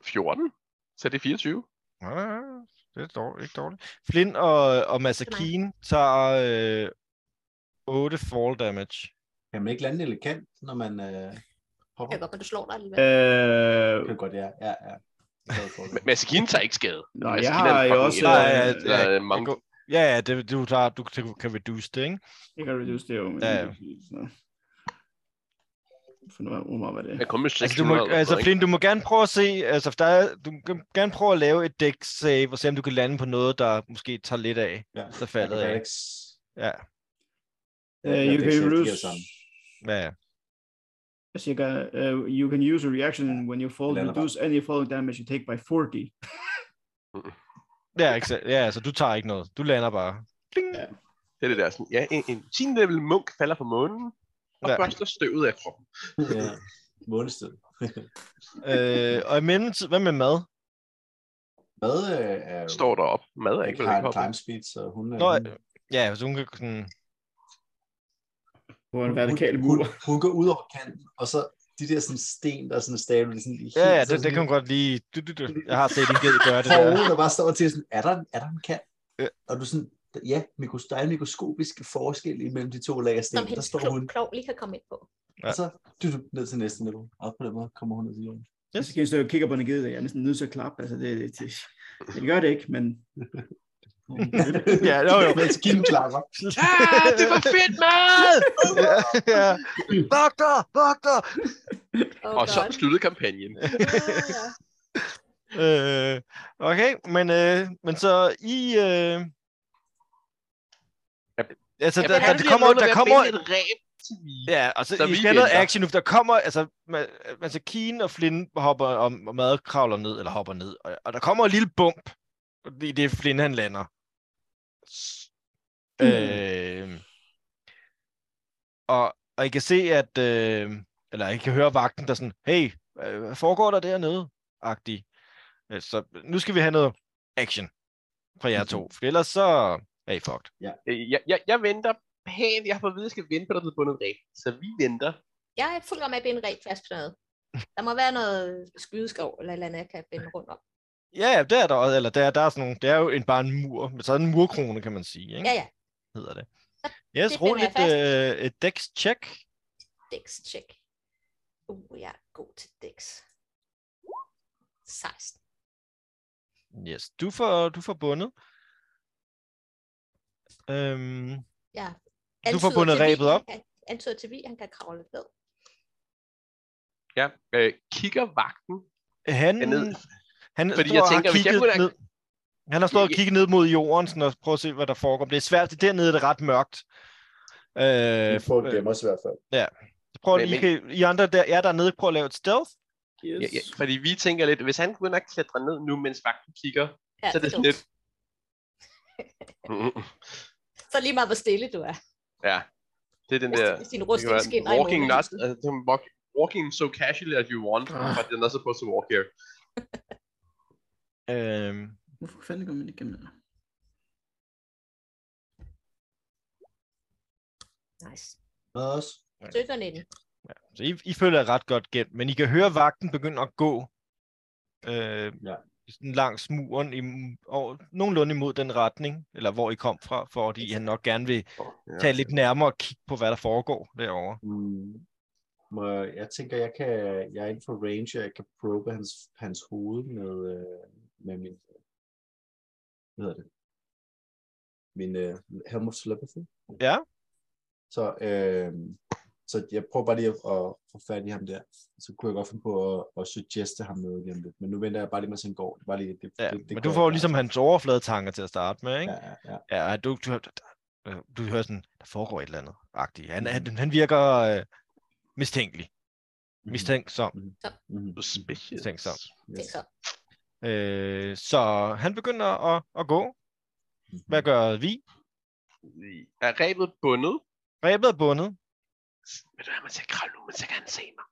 14. Så det er 24.
Ah, det er dårligt, ikke dårligt. Flynn og, og Masakine tager øh, 8 fall damage.
Kan man ikke lande elegant, når man øh,
Jeg
hopper?
kan godt, men du slår dig alligevel.
Øh,
Det kan godt, ja. ja, ja. Det er godt.
M- Masakine tager ikke skade.
Nå,
Mads
jeg
Kina er
har
en
jo
fucking
også...
idiot.
Nej, ja,
øh,
Eller, øh,
Man
monk.
går, ja, ja, det, du, tager, du, du kan reduce det, ikke?
Jeg kan reduce det jo, men...
Ja,
Ja,
ja.
ja. For nu er meget, hvad det er.
Jeg kom med 600.
Altså, du må,
eller
altså
sådan noget,
Flynn, du må gerne prøve at se, altså der er, du kan gerne prøve at lave et deck save, og se om du kan lande på noget, der måske tager lidt af,
Ja.
der
Jeg
faldet
kan
af.
ikke s-
Ja, Øh,
Uh,
jeg
you
kan
can
ikke se, at de
reduce...
er sammen.
ja, ja.
Altså, jeg kan, uh, you can use a reaction when you fall,
Eller hvad?
reduce any falling damage you take by 40.
Ja, ikke, så- ja, altså du tager ikke noget, du lander bare. Ding.
Ja.
ikke? Det er det der sådan, ja, en, en teen level munk falder fra månen, og
Ja.
ja. børster støvet af kroppen.
Ja. Månested.
Øh, og i mellemtiden, hvad med mad?
Hvad øh, er jo
Står der op. Mad er
ikke
ikke vel
har
ikke
en
hoppet.
climb speed, så hun er...
Nå,
Mm.
hun,
ja, hvis hun kan sådan,
På en
hun-
vertikal
hun,
mur.
hun, går ud over kanten, og så de der sådan sten, der er sådan stablet, det er sådan lige
Ja, ja,
så
det, det kan
sådan
man godt altså, lige... Du, du, du. Jeg har set en ged gøre det
forud,
der.
der bare står og tænker sådan, er der, en- er der en kant?
Ja.
Og du sådan, ja, mikros, der er en mikroskopisk forskel imellem de to lag af
Som
sten. Der
hendes
står
klog,
hun,
klog lige kan komme ind på.
Ja.
og så du, du, ned til næste niveau. Og på den måde kommer hun ned til jorden.
Så kan jeg stå og kigger på den gede, og jeg er næsten nødt til at klappe. Altså, det, det, det, jeg gør det ikke, men...
Ja, jo, jo.
Mens Kim klapper.
Ah, det var fedt, mad!
ja, ja. Vogter! Vogter!
Oh,
og så sluttede kampagnen.
ja.
Øh, okay, men, øh, men så I... Øh...
Yep.
Altså,
Ja,
der,
hvordan
der, der
bliver
kommer...
målet ved
Der
at
kommer
finde et ræb til vi?
ja, og så
Så
I
vi
skal have noget
venter.
action nu, for der kommer... Altså, ma- altså Keen og Flynn hopper og, og mad kravler ned, eller hopper ned. Og, og der kommer en lille bump, i det Flynn han lander. S-
Mm.
Øh, og, og I kan se, at... Øh, eller I kan høre vagten, der sådan, hey, øh, hvad foregår der dernede? Agtig. Øh, Så nu skal vi have noget action fra jer to, for ellers så er I fucked.
Øh, Jeg, jeg, jeg venter pænt. Jeg har fået at vide, at jeg skal vente på, at der er blevet bundet et ræb. Så vi venter.
Jeg er fuld om at binde ræb fast på noget. Der må være noget skydeskov eller et eller andet, jeg kan binde rundt om.
Ja, ja, det er der også, eller der, er- der er sådan nogle, det er jo en, bare en mur, men så er det en murkrone, kan man sige, ikke?
Ja, ja.
hedder det. Yes,
det
rul
binder
et,
jeg
øh, et dex check.
Dex check. Uh, jeg er god til Dex. 16.
Yes, du får, du får bundet. Øhm,
Jeg
du får
antyder
bundet
til Vi,
rebet
han
op.
kan- Antyder til vi, han kan kravle ned.
Ja, Mm, øh, kigger vagten.
Han,
Ned.
han
Fordi
står
jeg
og har
tænker, hvis jeg
kigget
kunne da-
ned, han har stået og
Jeg-
kigget ned mod jorden sådan, og prøvet at se, hvad der foregår. Det er svært, det dernede er det ret mørkt. Øh,
Vi får gemme os i hvert fald.
prøv,
Men-
I, kan, I andre der, jer dernede, prøv at lave et stealth.
Yes.
Ja, ja, fordi vi tænker lidt, hvis han begynder at klatre ned nu, mens vagten kigger.
Ja,
Så er det sådan
dumt.
lidt- Mm,
Så lige meget, hvor stille du er.
ja, det er den
Hvis
der...
din- hvis din
det kan
rustning
være
skinner i
walking not,
månelyset.
uh, the walk- walking so casually as you want, but you're not supposed to walk here.
Øh,
Hvorfor fanden går man ikke igennem det?
Nice.
Med os.
17 og 19.
så I, I føler jer ret godt gennem, men I kan høre vagten begynde at gå øh,
Ja.
ja. sådan langs muren, i, og, nogenlunde imod den retning, eller hvor I kom fra, fordi han nok gerne vil
Ja.
tage lidt nærmere og kigge på, hvad der foregår derovre.
Mm. Må jeg- Jeg tænker, jeg, kan, jeg er inden for range, og jeg kan probe hans, hans hoved med, øh, med min, hvad hedder det? øh, Min uh, helm of telepathy.
Ja.
Så øh, Så jeg prøver bare lige at, at få fat i ham der. Så kunne jeg godt finde på at, at suggeste ham noget igen lidt. Men nu venter jeg bare lige, med han går. Det er bare lige, det,
Ja,
det, det
men
går
du
jeg
får
bare.
ligesom hans overfladetanker til at starte med, ikke?
Ja, ja, ja.
Ja, ja du, du, du, du hører sådan, der foregår et eller andet, agtigt. Han,
Mm.
han, han virker øh, mistænkelig, mistænksom.
Mm-hmm.
Suspicious.
Tænksom.
Yes. Så,
Øh, så han begynder at, at gå. Hvad gør vi?
Er rebet bundet?
Rebet er bundet.
Ved du hvad, man skal kravle nu, men så kan han se mig.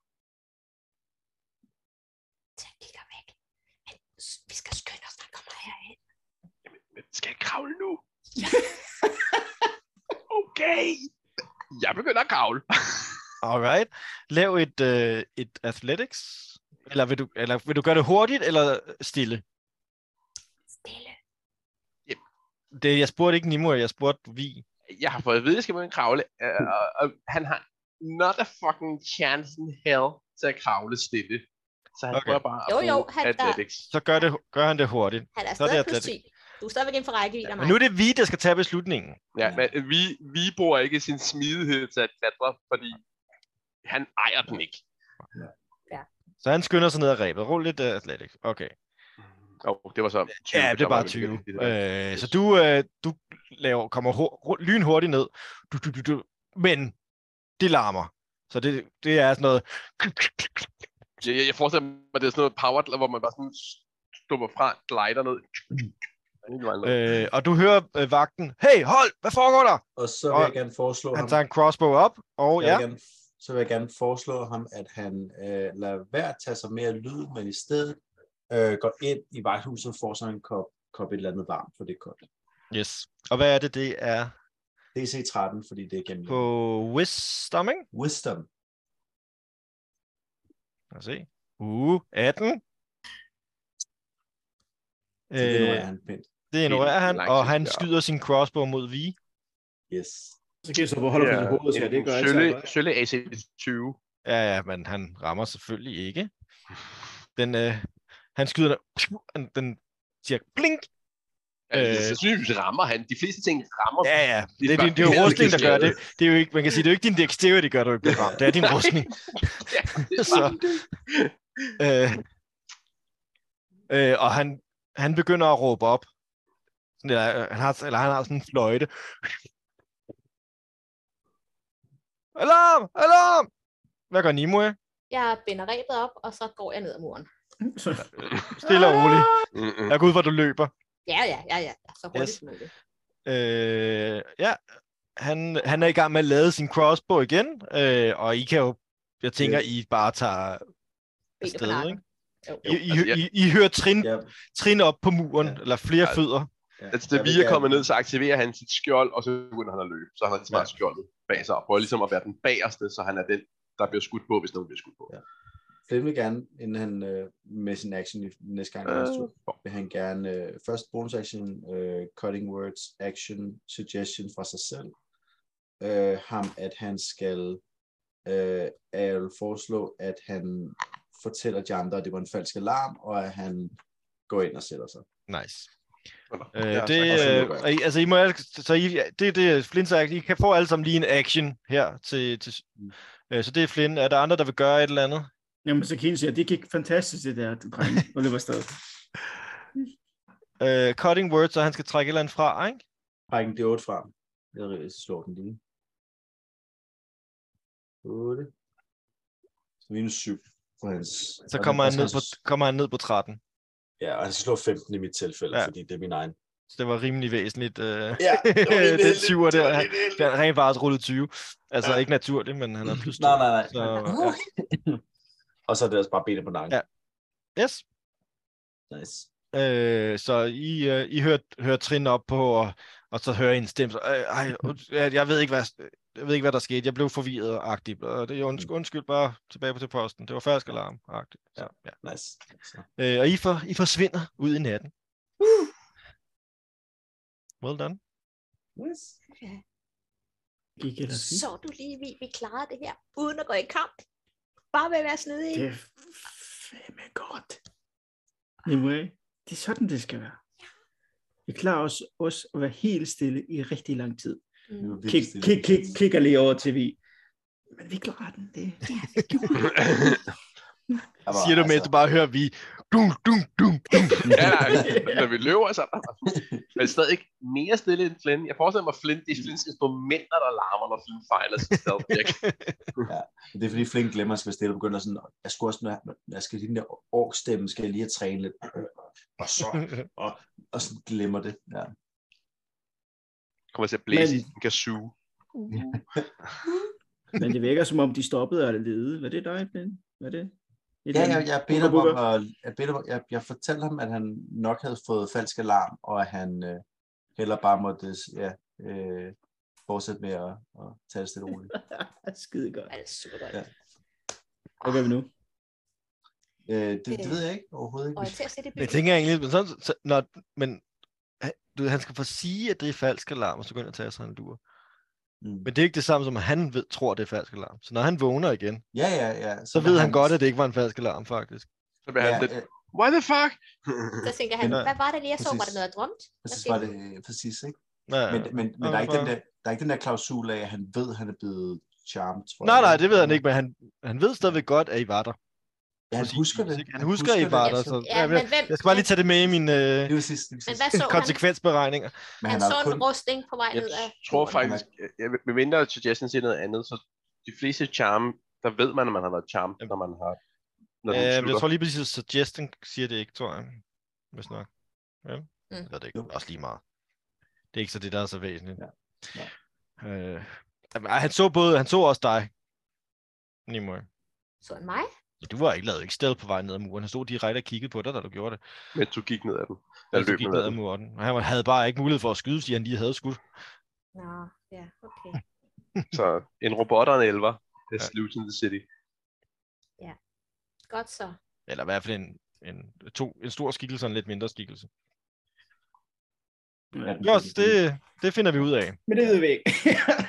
tag kigger væk. Men s- vi skal skynde os, der kommer herind.
Men Skal jeg kravle nu? okay. Jeg begynder at kravle.
Alright. Lav et, øh, et athletics. Eller vil, du, eller vil du gøre det hurtigt eller stille?
Stille.
Det, jeg spurgte ikke Nimue, jeg spurgte Vi.
Jeg har fået at vide, at jeg skal begynde at kravle, øh, og, og han har not a fucking chance in hell til at kravle stille. Så han
Okay.
okay. prøver bare at
Jo, jo,
bruge
han- der-
athletics.
Så gør, det, gør han det hurtigt.
Han er
Så er det
stadig plus
atletik.
10. Du er stadigvæk inden for rækkevidde af
Men
mig.
nu er det Vi, der skal tage beslutningen.
Ja, men vi, vi bruger ikke sin smidighed til at klatre, fordi han ejer den ikke.
Så han skynder sig ned ad rebet. Rul lidt uh, athletics. Okay.
Åh, oh, det var så 20.
Ja, det er
Der var
bare
vi-
20.
det- det- det-
Øh, så du, øh, du laver, kommer hur- ru- lynhurtigt ned, du, du, du, du, men det larmer. Så det, det er sådan noget...
Jeg, jeg, jeg forestiller mig, at det er sådan noget power, hvor man bare sådan stumper fra, glider ned. Hele vejen ned.
Øh, og du hører øh, vagten, hey, hold, hvad foregår der?
Og så vil
Og
jeg gerne foreslå
Han
ham,
tager en crossbow op, og
jeg
ja,
vil gerne, så vil jeg gerne foreslå ham, at han øh, lader være at tage sig mere lyd, men i stedet øh, går ind i vejhuset og får sådan en kop, kop et eller andet varmt, for det er koldt.
yes. Og hvad er det, det er
DC 13, fordi det er gennem
på wisdom, ikke?
wisdom.
Lad os se. Uh, 18.
Så det
Øh,
er han pænt.
det ignorerer han,
lang
og
tid,
han
ja.
skyder sin crossbow mod Vi.
Yes.
Så kan jeg så holde
Ja,
yeah. på hovedet, så
en-
det
en
gør jeg
Sølle,
ikke.
Sølle AC 20.
Ja, ja, men han rammer selvfølgelig ikke. Den, øh, han skyder den, han- den siger blink.
Ja,
Øh.
øh, sandsynligvis rammer han. De fleste ting rammer.
Ja, ja, det, det, det, det er jo
bare-
rustning, der gør det. det er jo ikke, man kan sige, det er jo ikke din dexterity, der gør, at du ikke bliver ramt. Det er din
Nej.
rustning.
Ja, det er
Så.
bare det.
Øh, øh, og han, han begynder at råbe op. Sådan, Eller øh, han, har, eller han har sådan en fløjte. Alarm! Alarm! Hvad gør Nimue?
Jeg binder rebet op, og så går jeg ned ad muren.
Så,
Stille og roligt.
Mm-mm.
Jeg går ud, hvor du løber.
Ja, ja, ja, ja. Så hurtigt
Yes.
yes. som muligt.
Øh, ja, han, han er i gang med at lade sin crossbow igen, øh, og I kan jo, jeg tænker, I bare tager
på
afsted,
nakken.
ikke?
Jo.
I, I,
altså, jeg-
I, I hører trin,
Ja,
trin op på muren,
Ja.
eller flere
Ja.
fødder.
ja.
Altså, da
Jeg
vi
vil
er
gerne-
kommet ned, så aktiverer han sit skjold, og så begynder han at løbe. Så han har ligesom
Ja.
ja. skjoldet bag sig, og prøver ligesom at være den bagerste, så han er den, der bliver skudt på, hvis nogen bliver skudt på.
Ja. Flynn vil gerne, inden han øh, med sin action i næste gang, øh. næste tur, vil han gerne øh, først bonus action, øh, cutting words, action, suggestion fra sig selv. Øh, ham, at han skal, øh, at jeg vil foreslå, at han fortæller de andre, at det var en falsk alarm, og at han går ind og sætter sig.
Nice.
Eller,
Øh,
ja,
det,
så-
sådan,
øh,
det går.
og I, altså, I må, alle- så I, ja, det, det er Flynn sagt, I kan få alle sammen lige en action her til, til
Mm.
øh, så det er Flynn. Er der andre, der vil gøre et eller andet?
jamen, så Kine siger, det gik fantastisk, det der, dreng, og løber afsted.
Øh, cutting words, så han skal trække et eller andet fra, ikke?
Træk en D8 frem. Jeg øh, slår den lige. 8. Minus 7 på hans.
Så
og den-
kommer
og
han, ned
hans-
på, kommer han ned på 13.
Ja, og han slår 15 i mit tilfælde,
Ja.
ja. fordi det er min egen.
Så det var rimelig væsentligt. Øh.
Ja,
den syver der, han, den har rent faktisk rullet 20. Altså ja.
Ja.
ikke naturligt, men han har plus 2.
Nej, nej, nej.
Så, ja.
Og så er det altså bare benet på nakken.
Ja. Yes.
Nice.
Øh, så I, øh, I hører, hører trin op på, og, og så hører I en stemme. Så, øh, ej, und- jeg, jeg, ved ikke, hvad, jeg ved ikke, hvad der skete. Jeg blev forvirret, agtigt. Og det er undskyld, undskyld, bare tilbage på til posten. Det var falsk alarm, agtigt. Så, ja.
Nice. Så.
Øh, og I, for, I forsvinder ud i natten. Well done.
Nice.
Ja.
Gik ellers fint.
Så du lige, vi, vi klarede det her, uden at gå i kamp. Bare ved at være snedige.
Det er fandme godt. Anyway, det er sådan, det skal være. Vi klarer os, os at være helt stille i rigtig lang tid.
Det
Mm.
var virkelig
Kig,
stille.
kig, kig, kigger lige over til vi. Men vi klarer den. Det, det
Jeg var,
Siger du med, at du bare hører vi... Dum, dum, dum, dum.
ja, nej, når vi løber, så altså, Men stadig mere stille end Flynn. Jeg forestiller mig, at Flynn, det er Flynns instrumenter, der larmer, når Flynn fejler sit stealth check.
Men Det er fordi Flink glemmer sig, hvis det er, og begynder sådan, jeg skulle også, når jeg- når jeg skal lige den der orkstemme, skal jeg lige have trænet lidt, og så, og, og sådan glemmer det. Ja.
Kommer til at blæse
Men-
i en kazoo.
Men det virker som om, de stoppede og lede. Var det dig, Ben? Var det? Et eller
Ja, jeg,
andet?
jeg, bedte ham om,
Bubber.
at, jeg, bedte, ham- jeg, jeg fortalte ham, at han nok havde fået falsk alarm, og at han øh, heller bare måtte ja, øh, fortsætte med at, at tage det stille og roligt.
Skide godt.
Ja, det er super godt.
Ja.
Ja.
Hvad gør vi nu?
Øh, det, det ved jeg ikke overhovedet ikke.
Og til at se det
Men jeg tænker egentlig, men, sådan, så, når, men han- du, ved, han skal få sige, at det er falsk alarm, og så går han ind og tager sig en lur.
Mm.
Men det er ikke det samme som, at han ved, tror, det er falsk alarm. Så når han vågner igen,
Ja, ja, ja.
så ved han godt, at det ikke var en falsk alarm, faktisk.
Så bliver han
ja,
lidt,
øh,
what the fuck?
Så tænker han,
Men-
hvad var det lige, jeg så? Var
Præcis.
det noget, jeg drømte?
jeg
Hvad
synes
skete
bare,
der?
det øh, præcis, ikke?
Ja,
Men,
ja.
men, men der, er ikke den
bare-
der, der er ikke den der klausul af, at han ved, at han er blevet charmed, tror
Nej,
jeg.
nej, det ved han ikke, men han, han ved stadigvæk godt, at I var der.
Ja, han
Præcis.
husker det.
Han husker, I var der. Så,
Ja, men hvem?
jeg skal bare lige tage det med i min øh,
Det er præcis, det er
Men
præcis.
hvad så han?
konsekvensberegninger.
Men
Han
har
så
jo
en rustning på vej
Jeg
ned af...
tror faktisk, jeg, med mindre suggestion siger noget andet, så de fleste charme, der ved man, at man har været charmed, når man har... Når den
Ja, men Øhm, jeg
slutter.
tror lige præcis, at suggestion siger det ikke, tror jeg. Hvis nok. Ja, mm. jeg ved det ikke.
Jo.
Det er også lige meget. Det er ikke så det, der er så væsentligt.
Ja.
Ja. Øh, jamen, ej, han så både, han så også dig, Nimoy.
Så han mig?
Så du var ikke lavet ikke sted på vej ned ad muren. Han stod direkte og kiggede på dig, da du gjorde det.
mens du gik ned ad den.
Mens du gik ned ad muren. Og han havde bare ikke mulighed for at skyde, fordi han lige havde skudt.
Nå, ja, okay.
Så en robot og en elver. That's ja.
Ja.
in the city.
Godt så.
Eller i hvert fald en, en, to, en stor skikkelse og en lidt mindre skikkelse.
Ja,
Jo, altså, det, det finder vi ud af.
Men det ved vi ikke.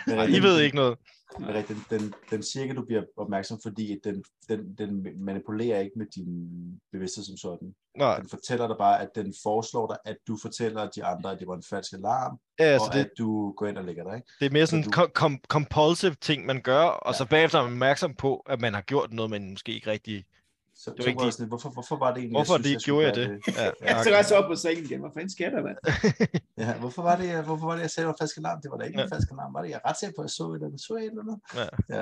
Men
Ej,
den-
I ved ikke noget.
Den, den, den, den cirka, du bliver opmærksom, fordi at den, den, den manipulerer ikke med din bevidsthed som sådan.
Nej,
Den fortæller dig bare, at den foreslår dig, at du fortæller de andre, at det var en falsk alarm,
ja,
altså,
så
og det...
det,
at du går ind og lægger dig. Ikke?
Det er mere
Så
sådan
du-
kom, kom, compulsive ting, man gør, og
Ja.
så bagefter er man opmærksom på, at man har gjort noget, man måske ikke rigtig...
Så,
var
så
ikke
var jeg
de-
sådan, hvorfor, hvorfor var det egentlig,
Hvorfor det
skulle
gjorde jeg
gøre
det? Ja,
Jeg
tak.
skal også op på sengen igen. Hvad fanden sker der, mand?
Ja, hvorfor var det, jeg- hvorfor var det, jeg sagde, det var falsk alarm? Det var da ikke
Ja.
en falsk alarm, var det? Jeg er ret sikker på, at jeg så et eller andet. Så jeg et eller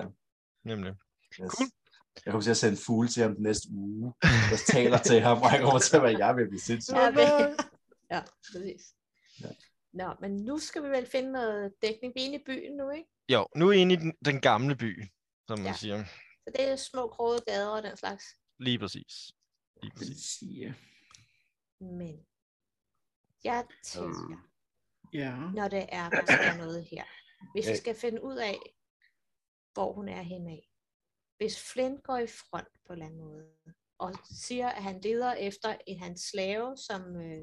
andet.
Nemlig.
Yes.
Cool.
Jeg kommer til at sende fugle til ham den næste uge, der taler til ham, og jeg kommer til at være, jeg vil blive sindssyg.
Ja, okay. ja præcis.
Ja.
Nå, men nu skal vi vel finde noget dækning. Vi er inde i byen nu, ikke?
Jo, nu er I inde i den, den gamle by, som man
Ja.
siger.
Så det er små grove gader og den slags.
Lige præcis. Lige præcis.
Ja.
Men jeg tænker,
ja.
når det er, der sker noget her. Hvis
Øh.
vi
Ja.
skal finde ud af, hvor hun er henne af. Hvis Flynn går i front på en eller anden måde, og siger, at han leder efter en hans slave, som øh,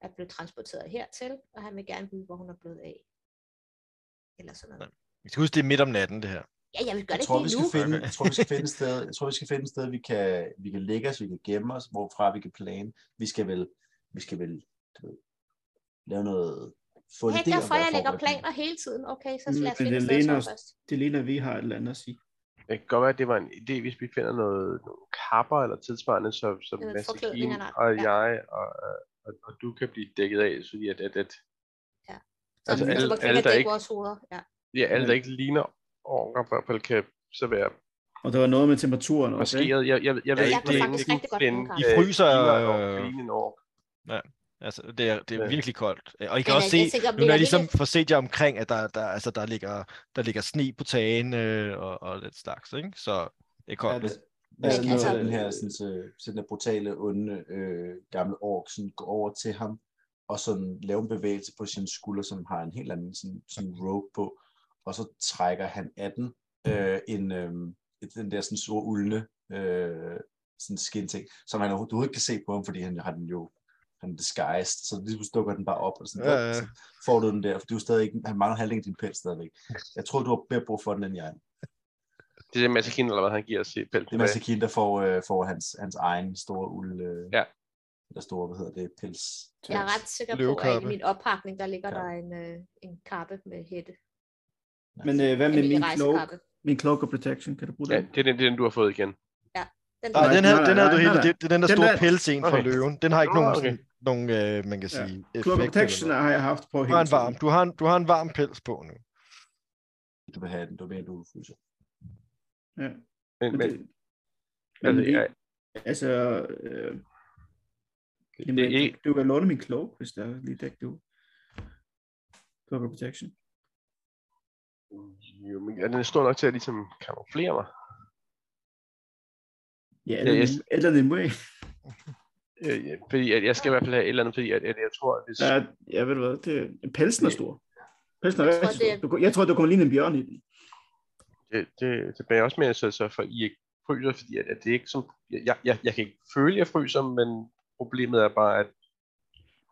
er blevet transporteret hertil, og han vil gerne vide, hvor hun er blevet af. Eller sådan noget.
Vi skal huske, det er midt om natten, det her.
Ja, jeg vil gøre
Jeg
det
tror, vi
ikke lige
skal
nu.
finde,
Okay.
jeg tror, vi skal finde et sted, jeg tror, vi skal finde et sted, vi kan, vi kan lægge os, vi kan gemme os, hvorfra vi kan plane. Vi skal vel, vi skal vel du ved, lave noget, få en
Hæk
idé om,
dig for,
hvad
jeg lægger
foregår.
planer hele tiden. Okay, så
Mm,
lad
men
os finde
det
et sted
ligner
så
os-
først.
Det ligner, at vi har et eller andet at sige.
Det kan godt være, at det var en idé, hvis vi finder noget, nogle kapper eller tilsvarende, så, så
Noget forklædning
Massakin
eller noget,
og
ja.
jeg og, øh, og, og, du kan blive dækket af, så at, at, at
Så
Altså,
vi
alle-
lukker
alle, der
dæk
ikke-
vores hoveder. Ja.
ja, alle, der
Men-
ikke ligner orker, i hvert fald kan så være
Og der var noget med temperaturen også. ikke?
maskeret. Jeg, jeg, jeg ved
Ja, jeg
ikke,
kan
det
faktisk
rigtig godt lide
I
Øh,
fryser...
Øh,
Øh,
en ork.
altså, det er, det er
Ja.
virkelig koldt. Øh, Og I kan
Men,
også
øh,
se,
jeg tænker,
nu
vi
når jeg
er
ligesom
ikke-
får set jer omkring, at der, der, altså, der, ligger, der ligger sne på tagen øh, og, og lidt slags, ikke? Så det er koldt.
Lad- Lad os
Men
lige
altså-
tage Øh, den her, sådan, så, så den her brutale, onde, øh, gamle ork, sådan, gå over til ham, og sådan lave en bevægelse på sin skulder, som har en helt anden sådan, sådan rope på, og så trækker han af den, øh, en, øh, den der sådan store uldne øh, sådan skin ting, som han overhovedet du ikke kan se på ham, fordi han har den jo han er disguised, så lige pludselig dukker den bare op, og sådan,
Ja,
ja,
ja.
ja. så får du den der, for du er stadig ikke, han mangler halvdelen af din pels stadigvæk. Jeg tror, du har mere brug for den, end jeg.
Det er Massakin, eller hvad han giver os i pelsen.
Det er Mads Akin, der får, øh, får hans, hans egen store uld, øh,
Ja.
eller store, hvad hedder det, pels.
Jeg er ret sikker på, at
Løvekappe.
i min oppakning, der ligger
Ja.
der en, øh, en kappe med hætte.
Men øh, hvad med
Almindelig
min cloak?
rejsekappe.
Min cloak of protection, kan du bruge
Ja,
den?
det er den, det er den, du har fået igen.
Den
Nej,
Nej,
den her,
nej,
den
nej,
her, du
nej,
helt,
nej.
det, det er den der
Den
store
der-
pelsen fra
Okay.
løven. Den har ikke
Nå,
nogen,
okay.
sådan, nogen øh, man kan
Ja.
sige,
Cloak of
effekt.
protection
eller noget.
har jeg haft på
Du har
hele
en varm, du har en, du har en varm pels på nu.
Du vil have den, du vil have en ulefryser.
Ja.
Men,
Men,
men,
det, men
altså,
vi,
jeg,
altså, øh,
det,
jamen,
er ikke,
du kan låne min cloak, hvis der er lige dæk du. Cloak of protection.
jo, men er den er stor nok til at ligesom kamuflere mig.
Ja, eller,
jeg-
yes. eller Nimue.
Øh, ja, fordi at jeg skal i hvert fald have et eller andet, fordi at, at jeg tror, at hvis...
Ja, jeg ved du hvad, det, pelsen er stor. Pelsen er
Jeg
rigtig
tror, det er-
stor. Du, kunne- jeg tror, du kommer lige en bjørn i den.
det, det, det bærer også med at sørge sig for, at I ikke fryser, fordi at, at det er ikke som, jeg, jeg, jeg kan ikke føle, at jeg fryser, men problemet er bare, at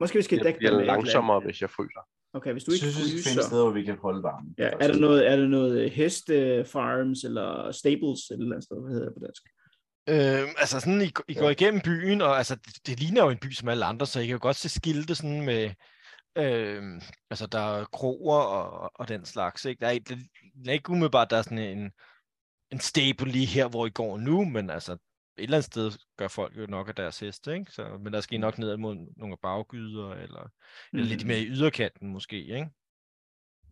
Måske vi skal
jeg
dække dig med et
bliver
eller andet.
langsommere, hvis jeg fryser.
Okay, hvis du
Du
ikke
synes, vi skal finde et
fryser.
sted, hvor vi kan holde varmen.
Ja, er der noget, er der noget øh, heste farms eller stables eller et eller andet sted, hvad hedder det på dansk?
Øh, altså sådan, I, I går igennem byen, og altså, det, det ligner jo en by som alle andre, så I kan jo godt se skilte sådan med, øh, altså der er kroer og, og den slags, ikke? Der er, ikke- det er ikke umiddelbart, der er sådan en, en stable lige her, hvor I går nu, men altså et eller andet sted gør folk jo nok af deres heste, ikke? Så, men der skal I nok ned mod nogle af baggyder, eller, mm. eller lidt mere i yderkanten måske, ikke?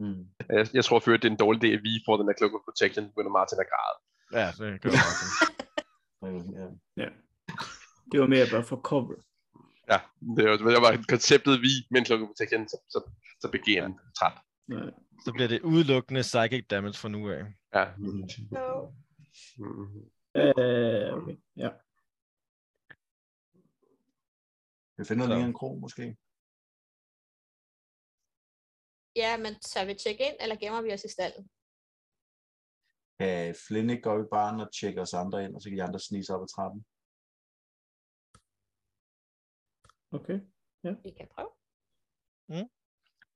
Mm.
Jeg, jeg tror for øvrigt, det er en dårlig idé, at vi får den der Cloak of Protection, begynder Martin at græde.
Ja, det gør jeg også.
Øh, ja.
Det var mere bare for cover.
Ja, det var, det var konceptet vi med en Cloak of Protection, så, så, så blev GM træt.
Nej.
Så bliver det udelukkende psychic damage fra nu af.
Ja.
Mm.
Mm.
Øh, okay. Ja.
Vi finder
Så.
lige en krog, måske.
Ja, men tør vi tjekke ind, eller gemmer vi os i stallen?
Kan Flynn ikke gå op i baren og tjekke os andre ind, og så kan de andre snige sig op ad trappen?
Okay.
Vi kan prøve.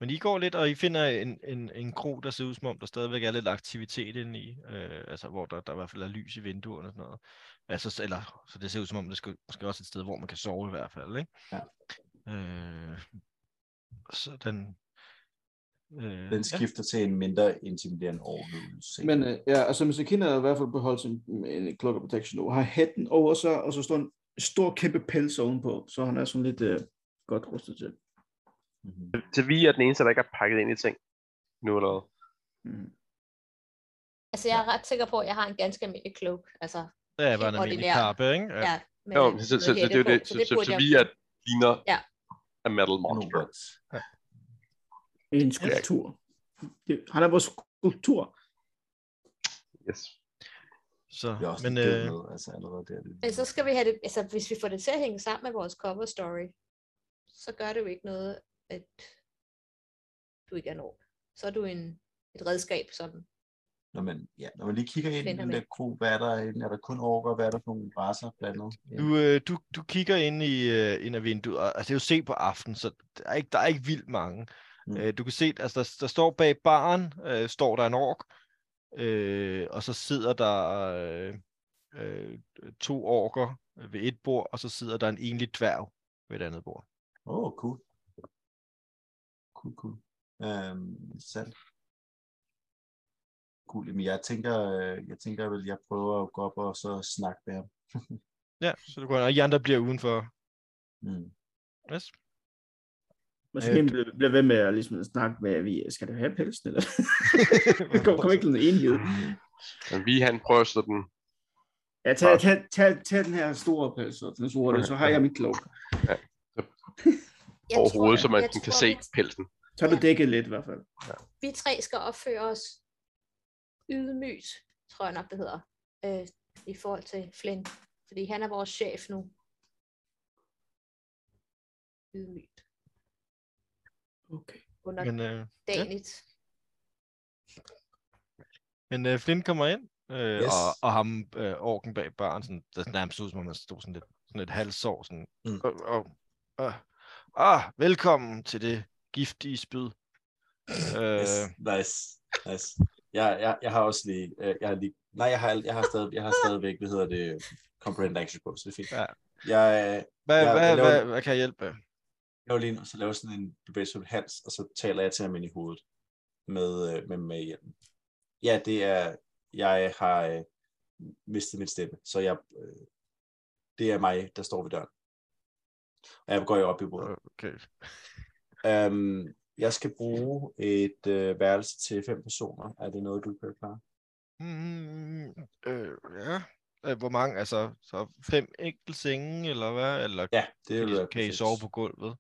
Men I går lidt, og I finder en, en, en kro, der ser ud som om, der stadigvæk er lidt aktivitet inde i. Øh, altså, hvor der, der i hvert fald er lys i vinduerne og sådan noget. Altså, s- eller, så det ser ud som om, det skal, måske også et sted, hvor man kan sove i hvert fald, ikke?
Ja.
Øh, så den... Øh,
Den skifter til en mindre intimiderende overlevelse.
Men øh, ja, altså Musakin har i hvert fald beholdt sin en cloak of protection nu. Har hatten over sig, og så står en stor kæmpe pels ovenpå, så han er sådan lidt øh, godt rustet til.
mm-hmm.
Så vi er den eneste, der ikke har pakket ind i ting nu eller hvad?
Mm.
Altså, jeg er ret sikker på, at jeg har en ganske almindelig cloak. Altså,
ja, det var en almindelig
ordinær.
kappe, ikke?
ja. med
Jo,
en
så, så, så,
hætte
det er jo
på,
det, så, så,
burde
så
jeg-
vi er ligner
Ja.
a metal
no,
monster.
but,
En skulptur. Det, han er vores skulptur.
Yes.
Så,
vi er også
men,
men, øh...
øh,
med, altså allerede der.
Men så skal vi have det, altså hvis vi får det til at hænge sammen med vores cover story, så gør det jo ikke noget, at du ikke er en ork. Så er du en, et redskab, som
Når man, ja, når man lige kigger ind i
Finder
den
vi.
der kro, hvad er der inde? Er der kun orker? Hvad er der for nogle raser blandet? Ja.
Du, øh, du, du kigger ind i øh, ind af vinduet, og altså, det er jo sent på aftenen, så der er ikke, der er ikke vildt mange.
Mm.
Mm. Øh, du kan se, altså, der, der står bag baren, øh, står der en ork, øh, og så sidder der øh, øh, to orker ved et bord, og så sidder der en enlig dværg ved et andet bord.
Åh, oh, cool. Cool, cool. Øhm, interessant. Cool, jamen jeg tænker, øh, jeg tænker vel, jeg prøver at gå op og så snakke med ham.
Ja, så du går ind, og I andre bliver udenfor.
Mm.
Yes.
Musakin
Øh,
bliver, bliver ved med at ligesom, snakke med, at vi skal det have pelsen, eller? Vi kommer kom ikke til noget enighed.
Men vi, han prøver at slå den.
Ja, tag, tag, tag, tag den her store pels, og den sorte,
Okay.
så har jeg min cloak.
jeg
overhovedet, så man
jeg
den kan
tror,
se
vi,
pelsen.
Så har du dækket lidt i hvert fald.
vi tre skal opføre os ydmygt, tror jeg nok, det hedder, øh, i forhold til Flynn. Fordi han er vores chef nu. Ydmygt.
Okay.
Under
Men, øh,
Danigt.
men øh, Flynn kommer ind, øh, yes.
Yes.
og, og ham, øh, orken bag baren, sådan, der nærmest ud, som om han stod sådan lidt, sådan lidt halvsår, sådan,
Mm.
og, og, og, ah, velkommen til det giftige spyd. Øh,
Yes, nice, nice. Jeg, jeg, jeg har også lige, øh, jeg har lige, nej, jeg har, alt- jeg har, stadig, jeg har stadigvæk, hvad hedder det, comprehend action på, så det er fint.
Ja.
Jeg, øh,
hvad,
Ja,
ja, hvad,
jeg laver-
hvad, hvad kan jeg hjælpe med?
laver lige en, og så laver sådan en bevægelse med Hans, og så taler jeg til ham ind i hovedet med, øh, med, med hjelmen. Ja, det er Jeg har øh, mistet min stemme, så jeg, øh, det er mig, der står ved døren. Og jeg går jo op i bordet.
Okay.
Um, jeg skal bruge et øh, værelse til fem personer. Er det noget, du kan klare?
Mm, øh, ja. Øh, Hvor mange? Altså, så fem enkelte senge, eller hvad? Eller
Ja, det
kan,
vil
I,
være
kan I
perfekt.
sove på gulvet?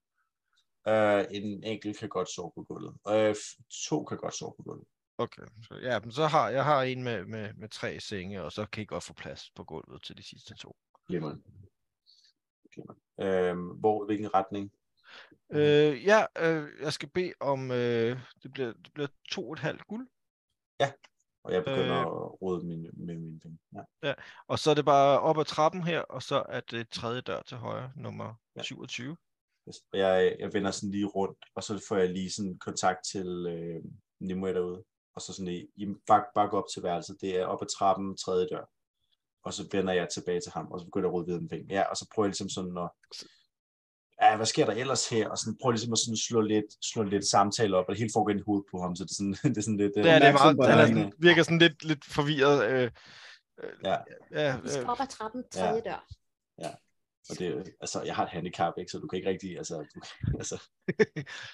Øh, en enkelt kan godt sove på gulvet. Øh, f- to kan godt sove på gulvet.
Okay. Så, ja, men så har jeg har en med, med, med tre senge, og så kan I godt få plads på gulvet til de sidste to.
Glimrende. Glimrende. Øh, hvor, hvilken retning? Mhm.
Øh, ja, øh, jeg skal bede om, øh, det, bliver, det bliver to og et halvt guld,
Og jeg begynder
Øh.
at rode min, med mine penge. Ja.
og så er det bare op ad trappen her, og så er det tredje dør til højre, nummer
Ja.
27.
Yes. Og jeg, jeg vender sådan lige rundt, og så får jeg lige sådan kontakt til øh, Nimue derude. Og så sådan lige, jamen, bare, bare gå op til værelset. Det er op ad trappen, tredje dør. Og så vender jeg tilbage til ham, og så begynder jeg at rode videre med penge. Ja, og så prøver jeg ligesom sådan at... Ja, hvad sker der ellers her? Og sådan prøver ligesom at sådan slå, lidt, slå lidt samtale op, og det hele foregår ind i hovedet på ham, så det er sådan, det er sådan lidt... øh,
Ja, det er
opmærksom
meget,
på
han er
dig,
sådan, virker sådan lidt, lidt forvirret. Øh, øh,
Ja.
ja
Vi skal
øh,
op ad trappen, tredje dør.
Og det, er jo- altså, jeg har et handicap, ikke? så du kan ikke rigtig... Altså, du, altså,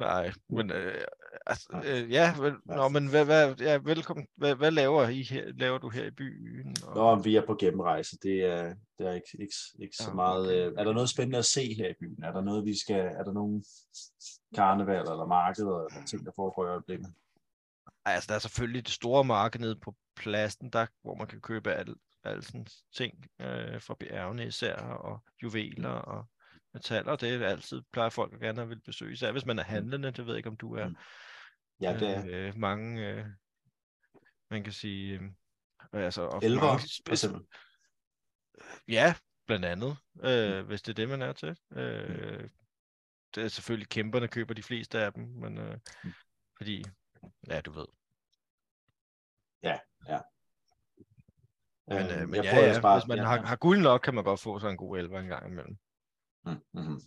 nej, men øh, altså,
Nej.
øh, ja, vel, nå, men hvad, hvad, ja, velkommen. Hvad, hvad laver, I her, laver du her i byen? Og,
Nå, men vi er på gennemrejse. Det er, det er ikke, ikke, ikke så
Ja,
meget...
okay.
Okay. Er der noget spændende at se her i byen? Er der noget, vi skal... Er der nogen karneval eller markeder eller ting, der foregår i øjeblikket?
Ej, altså, der er selvfølgelig det store marked nede på pladsen, der, hvor man kan købe alle al sådan ting øh, fra bjergene især, og juveler og metaller. Det er altid, plejer folk at gerne at vil besøge, især hvis man er handlende. Det ved jeg ikke, om du er.
Mm. Ja, det er...
Øh, mange, øh, man kan sige, øh, altså... Og
Elver,
mange
for
spids,
eksempel.
ja, blandt andet,
Mm.
øh, hvis det er det, man er til. Øh, det er selvfølgelig kæmperne køber de fleste af dem, men øh,
Mm.
fordi, ja, du ved. Men, øh, men
Øhm, jeg
ja,
prøver
ja,
ellers bare...
hvis man
ja,
har,
ja.
har guld nok, kan man godt få sig en god elver en gang imellem.
Mm-hmm.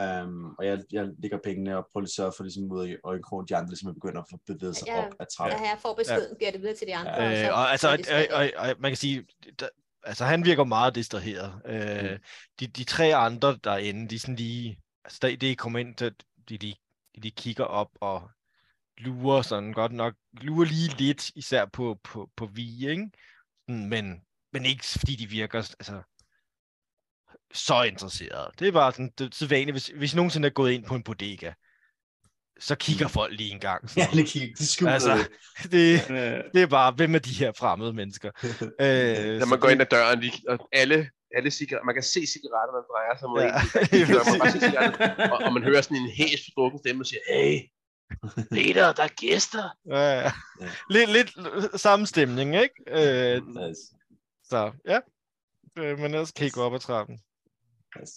Um, og jeg, jeg lægger pengene og prøver lige at sørge for ligesom ud i øjenkrogen, de andre ligesom begynder at bevæge sig
Ja,
op ad
Ja,
trappen.
her får beskeden, giver det videre til de andre.
Ja.
Øh,
så
og altså,
er
og,
det
og,
stadig-
og, og, man kan sige, der, altså han virker meget distraheret. Øh, de, de tre andre derinde, de er sådan lige, altså da det kommer ind, der, de, de, de lige kigger op og lurer sådan godt nok, lurer lige lidt, især på, på, på vi, ikke? Sådan, Men, men ikke fordi de virker altså, så interesserede. Det er bare sådan, det, så vanligt, hvis, hvis I nogensinde er gået ind på en bodega, så kigger folk lige en gang.
Ja,
Sådan,
det kigger. Det skjuler
Altså,
altså,
det,
Øh,
det er bare, hvem er de her fremmede mennesker? Øh,
Når man går ind ad døren, lige, og alle, alle cigaretter, man kan se cigaretter, der drejer sig mod
Ja.
ja. en. Så man bare se cigaretter, og, og, man hører sådan en hæs drukken stemme, og siger, hey, Peter, der er gæster.
ja.
Ja.
lidt, lidt samme stemning, ikke?
Mm.
Øh,
Nice,
så ja, øh, men ellers kan I gå op ad trappen.
nice.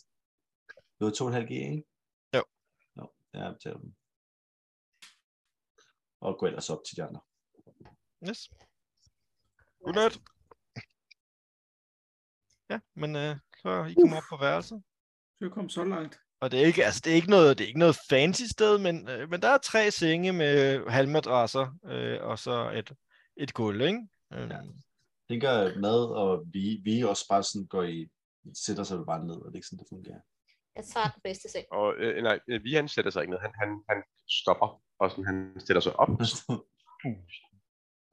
Du har 2,5G, ikke?
Jo.
Jo, jeg betaler dem. Og gå ellers op til de andre.
Yes. Godnat. Ja, men øh, så I kommer op på værelset.
du kom så langt.
Og det er ikke, altså, det er ikke noget, det er ikke noget fancy sted, men, øh, men der er tre senge med halmadrasser øh, og så et, et gulv, ikke? Øh,
Ja. tænker at mad og vi, vi også bare sådan går i, sætter sig vel bare ned, og det er ikke sådan, det fungerer.
Jeg tager den bedste seng.
Og øh, nej, øh, vi han sætter sig ikke ned. Han, han, han stopper, og sådan, han sætter sig op.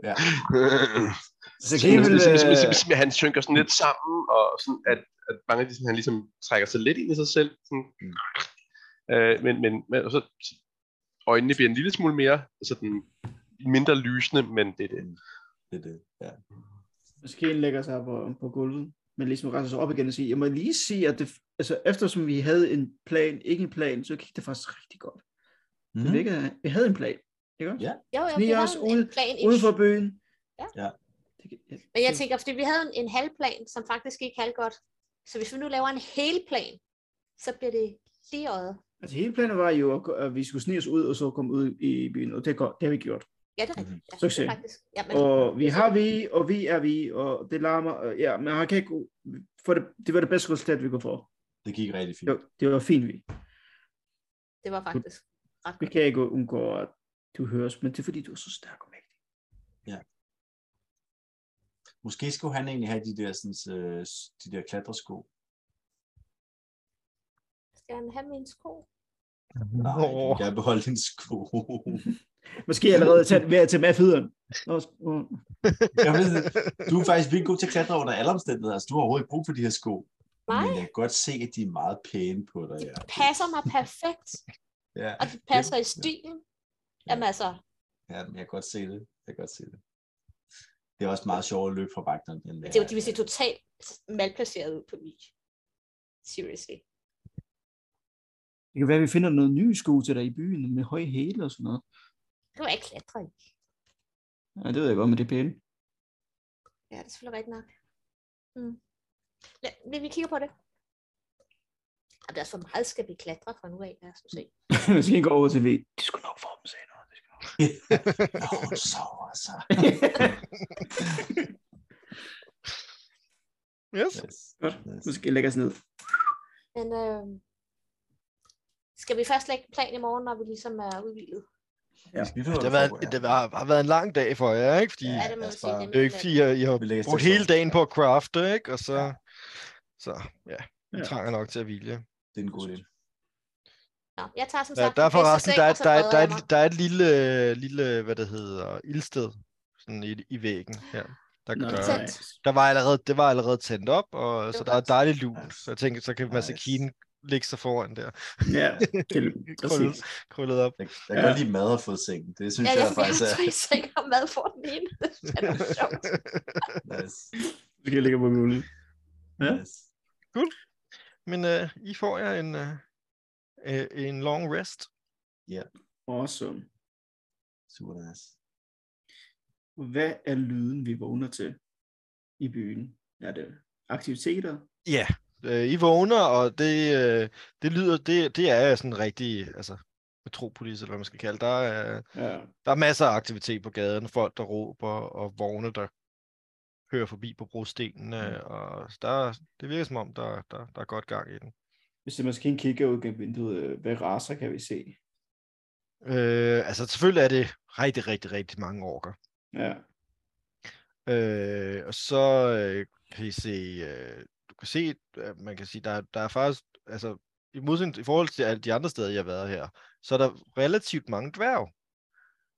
ja.
Så sådan, ligesom, ligesom, ligesom, ligesom, at han synker sådan lidt sammen, og sådan, at, at mange af de, sådan, han ligesom trækker sig lidt ind i sig selv. Sådan,
Mm.
øh, men, men, men og så øjnene bliver en lille smule mere sådan, mindre lysende, men det er det.
Det er det, ja.
Skeen lægger sig på, på gulvet, men ligesom rejser sig op igen og siger, jeg må lige sige, at det, altså, eftersom vi havde en plan, ikke en plan, så gik det faktisk rigtig godt. Mm. Det
Mm.
virkede, vi havde en plan, ikke også?
Ja.
Jo, jo,
Sniger
vi
os
havde en,
ud-
en plan.
Uden for
ish.
byen.
Ja.
Ja.
Det, ja.
Men jeg tænker, fordi vi havde en, en halvplan, som faktisk gik halv godt. Så hvis vi nu laver en hel plan, så bliver det lige øjet.
Altså hele planen var jo, at- at vi skulle snige os ud, og så komme ud i byen, og det, går, det har vi gjort.
Ja, det er rigtigt. Ja, det
Succes.
er faktisk. Ja, men,
Og vi har vi, og vi er vi, og det larmer, og ja, men han kan ikke, for det, det var det bedste resultat, vi kunne få.
Det gik rigtig fint.
Det var, det var fint, vi.
det var faktisk ret
Vi
godt.
kan ikke undgå, at du høres, men det er fordi, du er så stærk og mægtig.
Ja. Måske skulle han egentlig have de der, sådan, øh, de der klatresko.
Skal han have min sko?
Nej, oh.
Åh.
jeg vil beholde din sko.
Måske allerede tage, ved at tage med af fødderne. Nå, s- åh.
jeg ved, det. du er faktisk virkelig god til at klatre under alle omstændigheder. Altså, du har overhovedet ikke brug for de her sko.
Nej,
Men jeg kan godt se, at de er meget pæne på dig.
de
Ja.
passer mig perfekt,
Ja,
og de passer i stilen. Jamen altså,
ja, men jeg kan godt se det. Jeg kan godt se det. Det er også meget sjovt at løbe fra vagterne. end
det er jo, de vil se totalt malplaceret ud på mig. Seriously.
Det kan være, at vi finder noget nye sko til dig i byen med høje hæle og sådan noget.
Det kan man ikke klatre i.
Ja, det ved jeg godt, men det er pænt.
Ja, det er selvfølgelig rigtigt nok. Mm. Lad, vi, vi kigger på det. Jamen, altså, hvor meget skal vi klatre fra nu af, lad os nu se.
Vi skal ikke gå over til V. Det skulle nok få dem sagde noget.
Nå, hun sover altså.
Yes.
Yes.
Godt.
Yes.
Nu skal jeg lægge os ned.
Men øh, skal vi først lægge plan i morgen, når vi ligesom er udvildet?
Ja.
Vi finder
Det har
noget
været,
forberedt.
det har, har været en lang dag for jer, ikke? Fordi
Ja, det må
ja,
lad
man
os
sige.
bare-
Det er
det er
min
jo ikke
plan.
fordi, I, I har
Vi lægger os
brugt
til at
hele
sove.
dagen på at crafte, ikke? Og så,
Ja.
ja. så ja, I
Ja.
trænger nok til at hvile.
Det er en god idé.
Nå, jeg tager som
Der,
sagt
der er
den bedste
forresten,
seng,
der, er-
og så
der, er-
breder
der, er
jeg mig.
et- der er et lille, lille, hvad det hedder, ildsted sådan i, i væggen her. Der,
Nå,
der,
Tændt.
nice.
der var allerede, det var allerede tændt op, og så
var
der er
godt.
dejligt lun. Så jeg tænker, så kan
Nice.
Masakine ligge sig foran der,
Ja, det,
krøllet,
præcis.
krøllet op.
Jeg, jeg kan
Ja.
godt lide mad har fået sengen. Det synes
Ja,
ja,
jeg
jeg,
skal
faktisk er
tre sækker mad for den ene. Det er da sjovt.
nice.
Nu skal jeg lægge på muligt. Ja.
nice.
Men øh, I får jer en, øh, øh, en long rest.
Awesome.
Super nice.
Hvad er lyden, vi vågner til i byen? Er det aktiviteter?
Ja, øh, I vågner, og det, øh, det lyder, det, det er sådan rigtig, altså metropolis, eller hvad man skal kalde det. Der er,
Ja.
der er masser af aktivitet på gaden, folk der råber, og vogne der kører forbi på brostenene, mm. og der, det virker som om, der, der, der er godt gang i den.
Hvis man skal kigge ud gennem vinduet, øh, hvad raser kan vi se?
Øh, altså selvfølgelig er det rigtig, rigtig, rigtig mange orker.
Ja.
Øh, og så øh, kan I se, øh, du kan se, øh, man kan sige, der, er- der er faktisk, altså i, modsætning, i forhold til alle de andre steder, jeg har været her, så er der relativt mange dværge,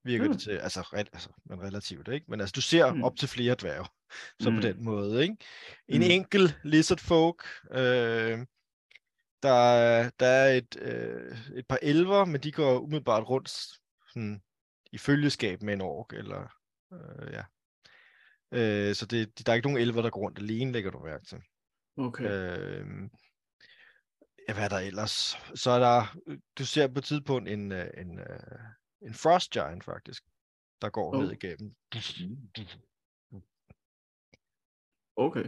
virker mm.
Mm.
det til. Altså, re, altså, men relativt, ikke? Men altså, du ser
Mm.
mm. op til flere dværge, så mm.
Mm.
på den måde, ikke? En
Mm.
mm. enkelt lizard folk, øh, der, er- der er et, øh, et par elver, men de går umiddelbart rundt sådan, i følgeskab med en ork, eller øh, ja. Øh, så det, der er ikke nogen elver, der går rundt alene, lægger du mærke til.
Okay.
Øh, ja, hvad er der ellers? Så er der, øh, du ser på et tidspunkt en, øh, en, øh, en Frost Giant faktisk, der går
Oh.
ned igennem.
Okay.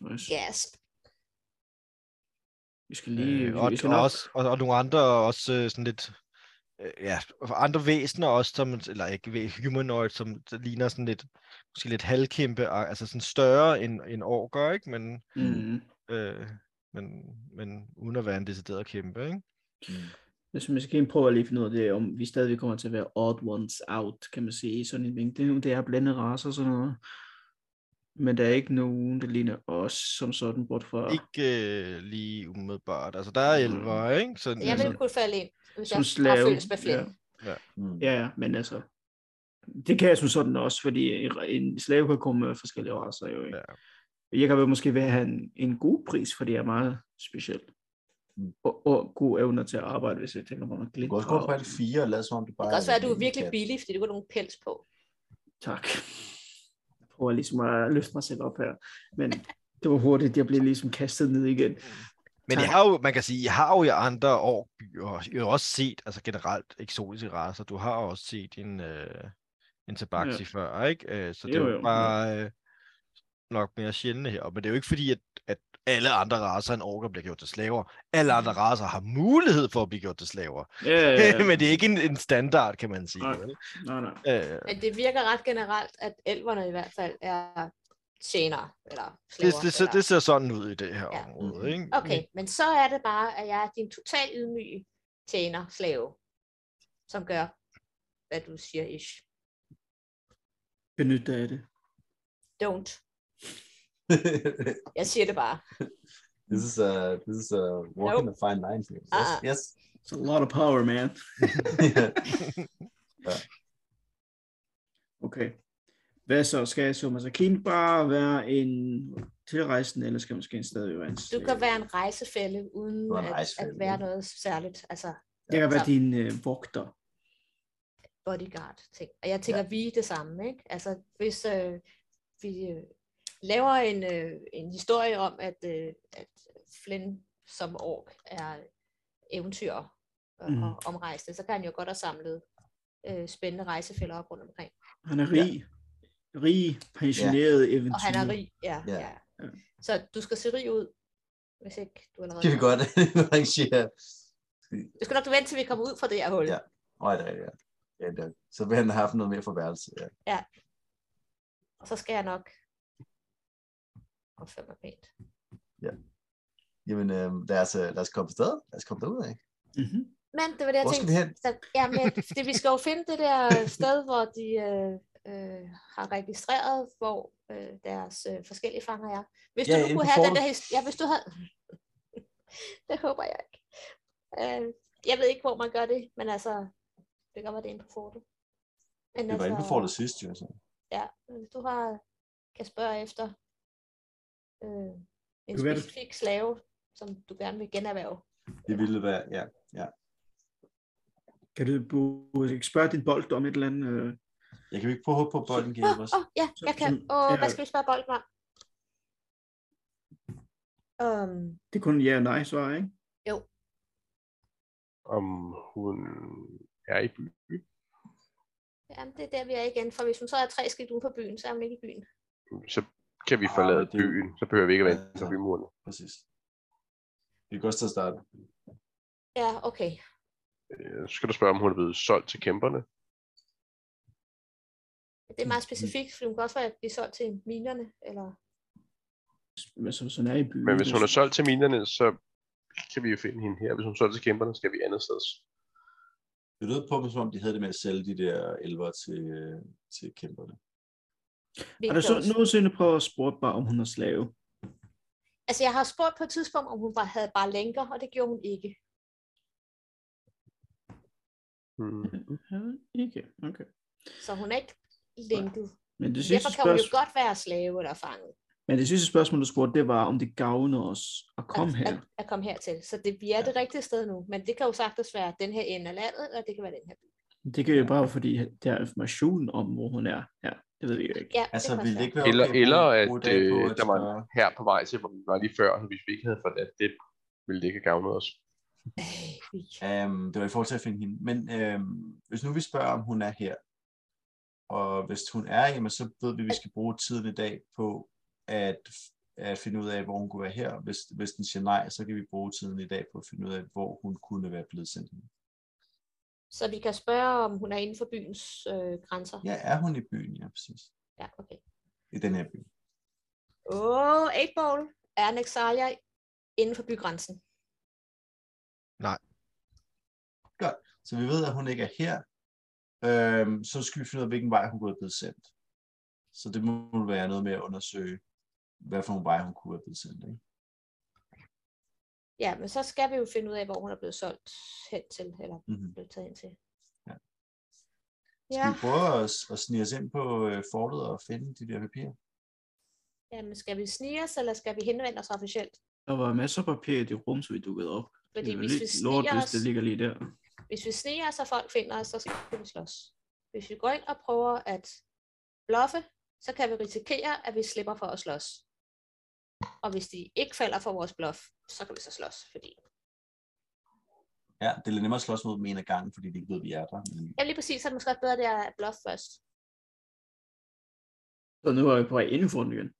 Nice.
Gasp.
Vi skal lige...
Øh,
vi-
og,
vi skal
og,
nok-
også, og, og nogle andre også øh, sådan lidt, øh, ja, og andre væsener også, som, eller ikke væ- humanoid, som der ligner sådan lidt, måske lidt halvkæmpe, og- altså sådan større end, end orker, ikke? Men,
Mm-hmm.
Mm.
øh, men, men uden at være en decideret kæmpe, ikke?
Jeg synes, vi skal prøve at lige finde ud af det, om vi stadig kommer til at være odd ones out, kan man sige, i sådan en mængde. Det er blandet raser og sådan noget. Men der er ikke nogen, der ligner os, som sådan, bort fra...
Ikke øh, lige umiddelbart. Altså, der er elver,
Mm.
ikke? Så,
Jeg
altså,
ville kunne falde ind, hvis jeg
som
har
slave.
føles med flere.
ja.
Mm.
ja, ja, men altså... Det kan jeg som sådan også, fordi en- en slave kan komme med forskellige raser jo, ikke? Jeg kan vel måske være have en, en god pris, fordi jeg er meget speciel.
Mm.
Og, og gode evner til at arbejde, hvis jeg tænker mig at
Du
glitte.
kan også gå på alle fire og lade som om du
Det
bare
kan også være, at du er
en
virkelig
kat.
billig, fordi du har nogen pels på.
Tak. Jeg prøver ligesom at løfte mig selv op her. Men det var hurtigt, jeg blev ligesom kastet ned igen.
Men I
Tak.
har jo, man kan sige, I har jo i andre årbyer, og I har også set, altså generelt eksotiske raser, du har også set en, øh, en tabaxi
Ja.
ja. før, ikke? Øh, så det er
Jo,
jo,
jo,
bare øh, nok mere sjældent her. Men det er jo ikke fordi, at, at alle andre raser end orker bliver gjort til slaver. Alle andre raser har mulighed for at blive gjort til slaver.
Mm. Ja, ja,
Ja. Men det er ikke en, en standard, kan man sige.
Nej.
vel?
Nej, nej.
Øh,
Men det virker ret generelt, at elverne i hvert fald er tjenere, eller
det,
slaver.
det, ser-
eller...
det Mm. ser sådan ud i det her
Ja.
Mm-hmm.
område, ikke?
Okay, men så er det bare, at jeg er din total ydmyge tjener, slave, som gør, hvad du siger, ish.
Benyt dig af det.
Don't. Jeg siger det bare.
this is a this is a walk in the fine line. Here. Yes,
Uh-uh.
yes.
It's a lot of power, man. Okay. Hvad så? Skal Thomas Akin bare være en tilrejsende, eller skal måske stadig være en...
Du
Øh.
kan være en rejsefælde, uden
Du er en
at, at
rejsefælle,
være
ikke?
noget særligt. Altså
Jeg kan være
Så-
din øh, vogter.
bodyguard-ting. Og jeg tænker, ja. vi er det samme. Ikke? Altså hvis øh, vi øh, laver en, øh, en historie om, at, øh, at Flynn som ork er eventyr og,
Mhm.
mm. og omrejsende, så kan han jo godt have samlet øh, spændende rejsefælder op rundt omkring.
Han er rig. Rig, pensioneret ja. eventyr.
Og han er rig, ja.
Ja.
ja. ja. Så du skal se rig ud, hvis ikke du allerede
Det er godt arrangere.
Du skal nok vente, til vi kommer ud fra det her hul.
Ja. Nej, det er rigtigt, ja. ja. det er- Så vil han have haft noget mere forværelse. Ja.
Og så skal jeg nok opføre mig pænt.
Jamen, øh, lad, os, øh, lad os komme afsted. Lad os komme derud af.
Mm-hmm.
Men det var det, jeg
Hvor skal
tænkte.
vi hen?
Så, ja, men det, vi skal jo finde det der sted, hvor de øh, øh, har registreret, hvor øh, deres øh, forskellige fanger er. Hvis
Ja,
du nu
inde
kunne
på
have den
fortet.
der historie... Ja, hvis du havde... det håber jeg ikke. Øh, jeg ved ikke, hvor man gør det, men altså, det gør man det inde på fortet. Men altså,
Vi var inde på fortet sidst, jo. Så.
Ja, hvis du har, kan spørge efter øh, en
Kunne være det-
specifik slave, som du gerne vil generhverve.
Det ville være, ja.
Kan du bo- ikke spørge din bold om et eller andet? Øh,
Jeg kan jo ikke prøve at håbe på, at bolden kan
Åh,
hjælpe os.
oh, ja,
Så-
jeg kan.
så-
Åh, oh,
ja.
hvad skal vi spørge bolden om? Um,
det er kun ja og nej svar, ikke?
om hun er i byen.
jamen, det er der, vi er igen. For hvis hun så er tre skridt uden for byen, så er hun ikke i byen.
Så kan vi
Ah,
forlade
men det er jo-
byen. Så behøver vi ikke at vente
Ja.
for bymurene.
Præcis. Det er et godt sted at starte.
Ja, okay.
Øh, Så skal du spørge, om hun er blevet solgt til kæmperne.
Det er
Mm.
meget specifikt, for hun kan også være blive solgt til minerne, eller...
Men så, sådan er i byen. altså.
Men hvis hun er
så...
solgt til minerne, så kan vi jo finde hende her. Hvis hun er solgt til kæmperne, skal vi andet sted.
Det lød på mig, som om de havde det med at sælge de der elver til, øh, til kæmperne.
Har du så
Vigtigst.
nogensinde prøvet at spørge bare, om hun er slave?
Altså, jeg har spurgt på et tidspunkt, om hun var, havde bare lænker, og det gjorde hun ikke.
Hmm.
Ja, ikke. Okay.
Så hun er ikke lænket.
Men det sidste
Derfor kan hun jo
spørgsmål...
godt være slave eller fanget
Men det sidste spørgsmål, du spurgte, det var, om det gavner os at komme
at,
her.
at, at komme hertil. Så det, vi er det rigtige sted nu, men det kan jo sagtens være den her ende af landet, og det kan være den her by.
Det kan jo bare være, fordi der er information om, hvor hun er. Ja, det ved vi jo ikke.
Ja,
Altså,
det
ville det
ikke...
ikke være okay
Eller,
at bruge-
eller at,
bruge dage
øh,
på at
der var en
spørge?
her på vej til, hvor vi var lige før, hvis vi ikke havde forladt det, ville det ikke have gavnet os.
Øhm, det var i forhold til at finde hende. Men øhm, hvis nu vi spørger, om hun er her, og hvis hun er, jamen, så ved vi, at vi skal bruge tiden i dag på at, at finde ud af, hvor hun kunne være her. Hvis, hvis den siger nej, så kan vi bruge tiden i dag på at finde ud af, hvor hun kunne være blevet sendt hen.
Så vi kan spørge, om hun er inden for byens øh, grænser.
Ja, er hun i byen? Ja, præcis.
Ja, okay.
I den her by.
Åh, oh, 8-ball. Er Nexalia inden for bygrænsen?
Så vi ved, at hun ikke er her. Øhm, så skal vi finde ud af, hvilken vej hun kunne være blevet sendt. Så det må være noget med at undersøge, hvad for en vej hun kunne være blevet sendt. Ikke?
Ja, men så skal vi jo finde ud af, hvor hun er blevet solgt hen til, eller
Mm-hmm.
blevet taget hen til.
Ja.
Ja,
Skal vi prøve at, at snige os ind på øh, fortet og finde de der papirer?
jamen skal vi snige os, eller skal vi henvende os officielt?
Der var masser af papir i det rum, så vi dukkede op.
Fordi
det er
hvis
lidt
vi
lort,
sniger
hvis
os,
det ligger lige der.
hvis vi sniger os, og folk finder os, så skal vi slås. Hvis vi går ind og prøver at bluffe, så kan vi risikere, at vi slipper for at slås. Og hvis de ikke falder for vores bluff, så kan vi så slås, fordi
Ja, det er lidt nemmere at slås mod dem en af gangen, fordi de ikke ved, vi er der. Men
Ja, lige præcis, så er det måske også bedre, det er at bluff først.
Så nu er vi på vej inden for den igen.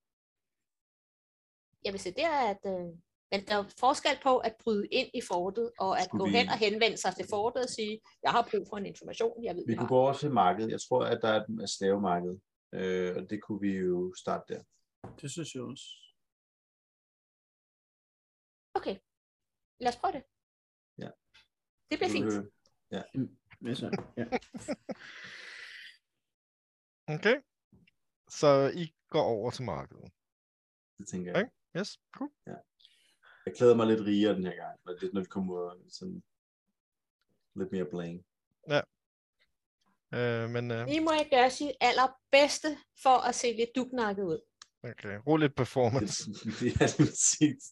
Jeg vil se, det er, at... Øh, men der er jo forskel på at bryde ind i fortet, og at
Skulle
gå
vi-
hen og henvende sig til fortet og sige, jeg har brug for en information, jeg ved,
vi
I
kunne
har."
gå over til markedet. Jeg tror, at der er et slavemarked, øh, og det kunne vi jo starte der.
Det synes jeg også.
Okay, lad os prøve det.
Ja.
Det bliver fint.
Øh,
Men så, ja.
Okay. Mm, Så I går over til markedet.
Det tænker jeg.
Yes, cool.
Jeg klæder mig lidt rigere den her gang, når, det, når vi kommer ud og sådan lidt mere blank.
Øh, men øh,
I må ikke gøre sit allerbedste for at se lidt dugnakket ud.
okay, rul lidt
Det,
performance.
det er lidt sigt.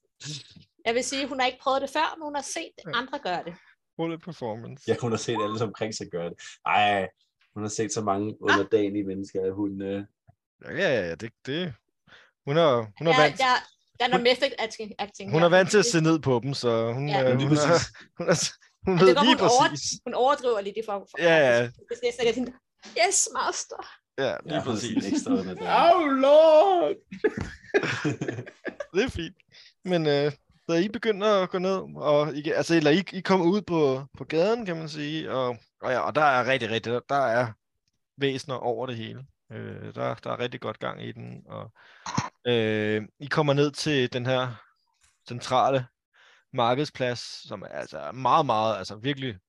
Jeg vil sige, hun har ikke prøvet det før, men hun har set andre gøre det.
Rul lidt performance.
Jeg kunne have set alle som omkring sig gøre det. Ej, hun har set så mange underdanige mennesker, at hun... Øh,
Ja, ja, ja, det, det. Hun har, hun
Jeg,
har vant,
jeg, der er noget
Hun-
method acting. acting
hun
her.
er vant til at se ned på dem, så hun,
Ja.
ja. øh,
lige
hun,
præcis.
er, hun, er, hun
det
ved
går
lige
hun over-
præcis.
Hun overdriver lidt i form for
Ja, ja,
Det er sådan, at jeg tænker, yes, master.
ja,
ja,
lige ja,
hun er sådan
præcis.
en ekstra underdanig.
lord!
det er fint. Men øh, da I begynder at gå ned, og I, kan- altså, eller I, I kommer ud på, på gaden, kan man sige, og, og, ja, og der er rigtig, rigtig, der er væsener over det hele. Øh, der, der er rigtig godt gang i den, og øh, I kommer ned til den her centrale markedsplads, som er altså er meget, meget, altså virkelig,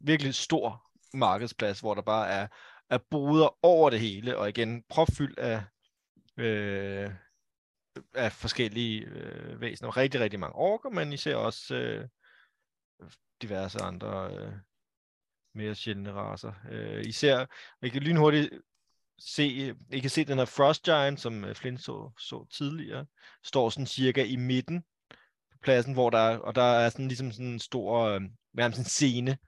virkelig stor markedsplads, hvor der bare er, er boder over det hele, og igen propfyldt af øh, af forskellige øh, væsener. Rigtig, rigtig mange orker, men især også øh, diverse andre øh, mere sjældne raser. Øh, især, og I kan lynhurtigt se, I kan se den her Frost Giant, som øh, Flint så, så tidligere, står sådan cirka i midten på pladsen, hvor der, er- og der er sådan ligesom sådan en stor, øh, nærmest en scene.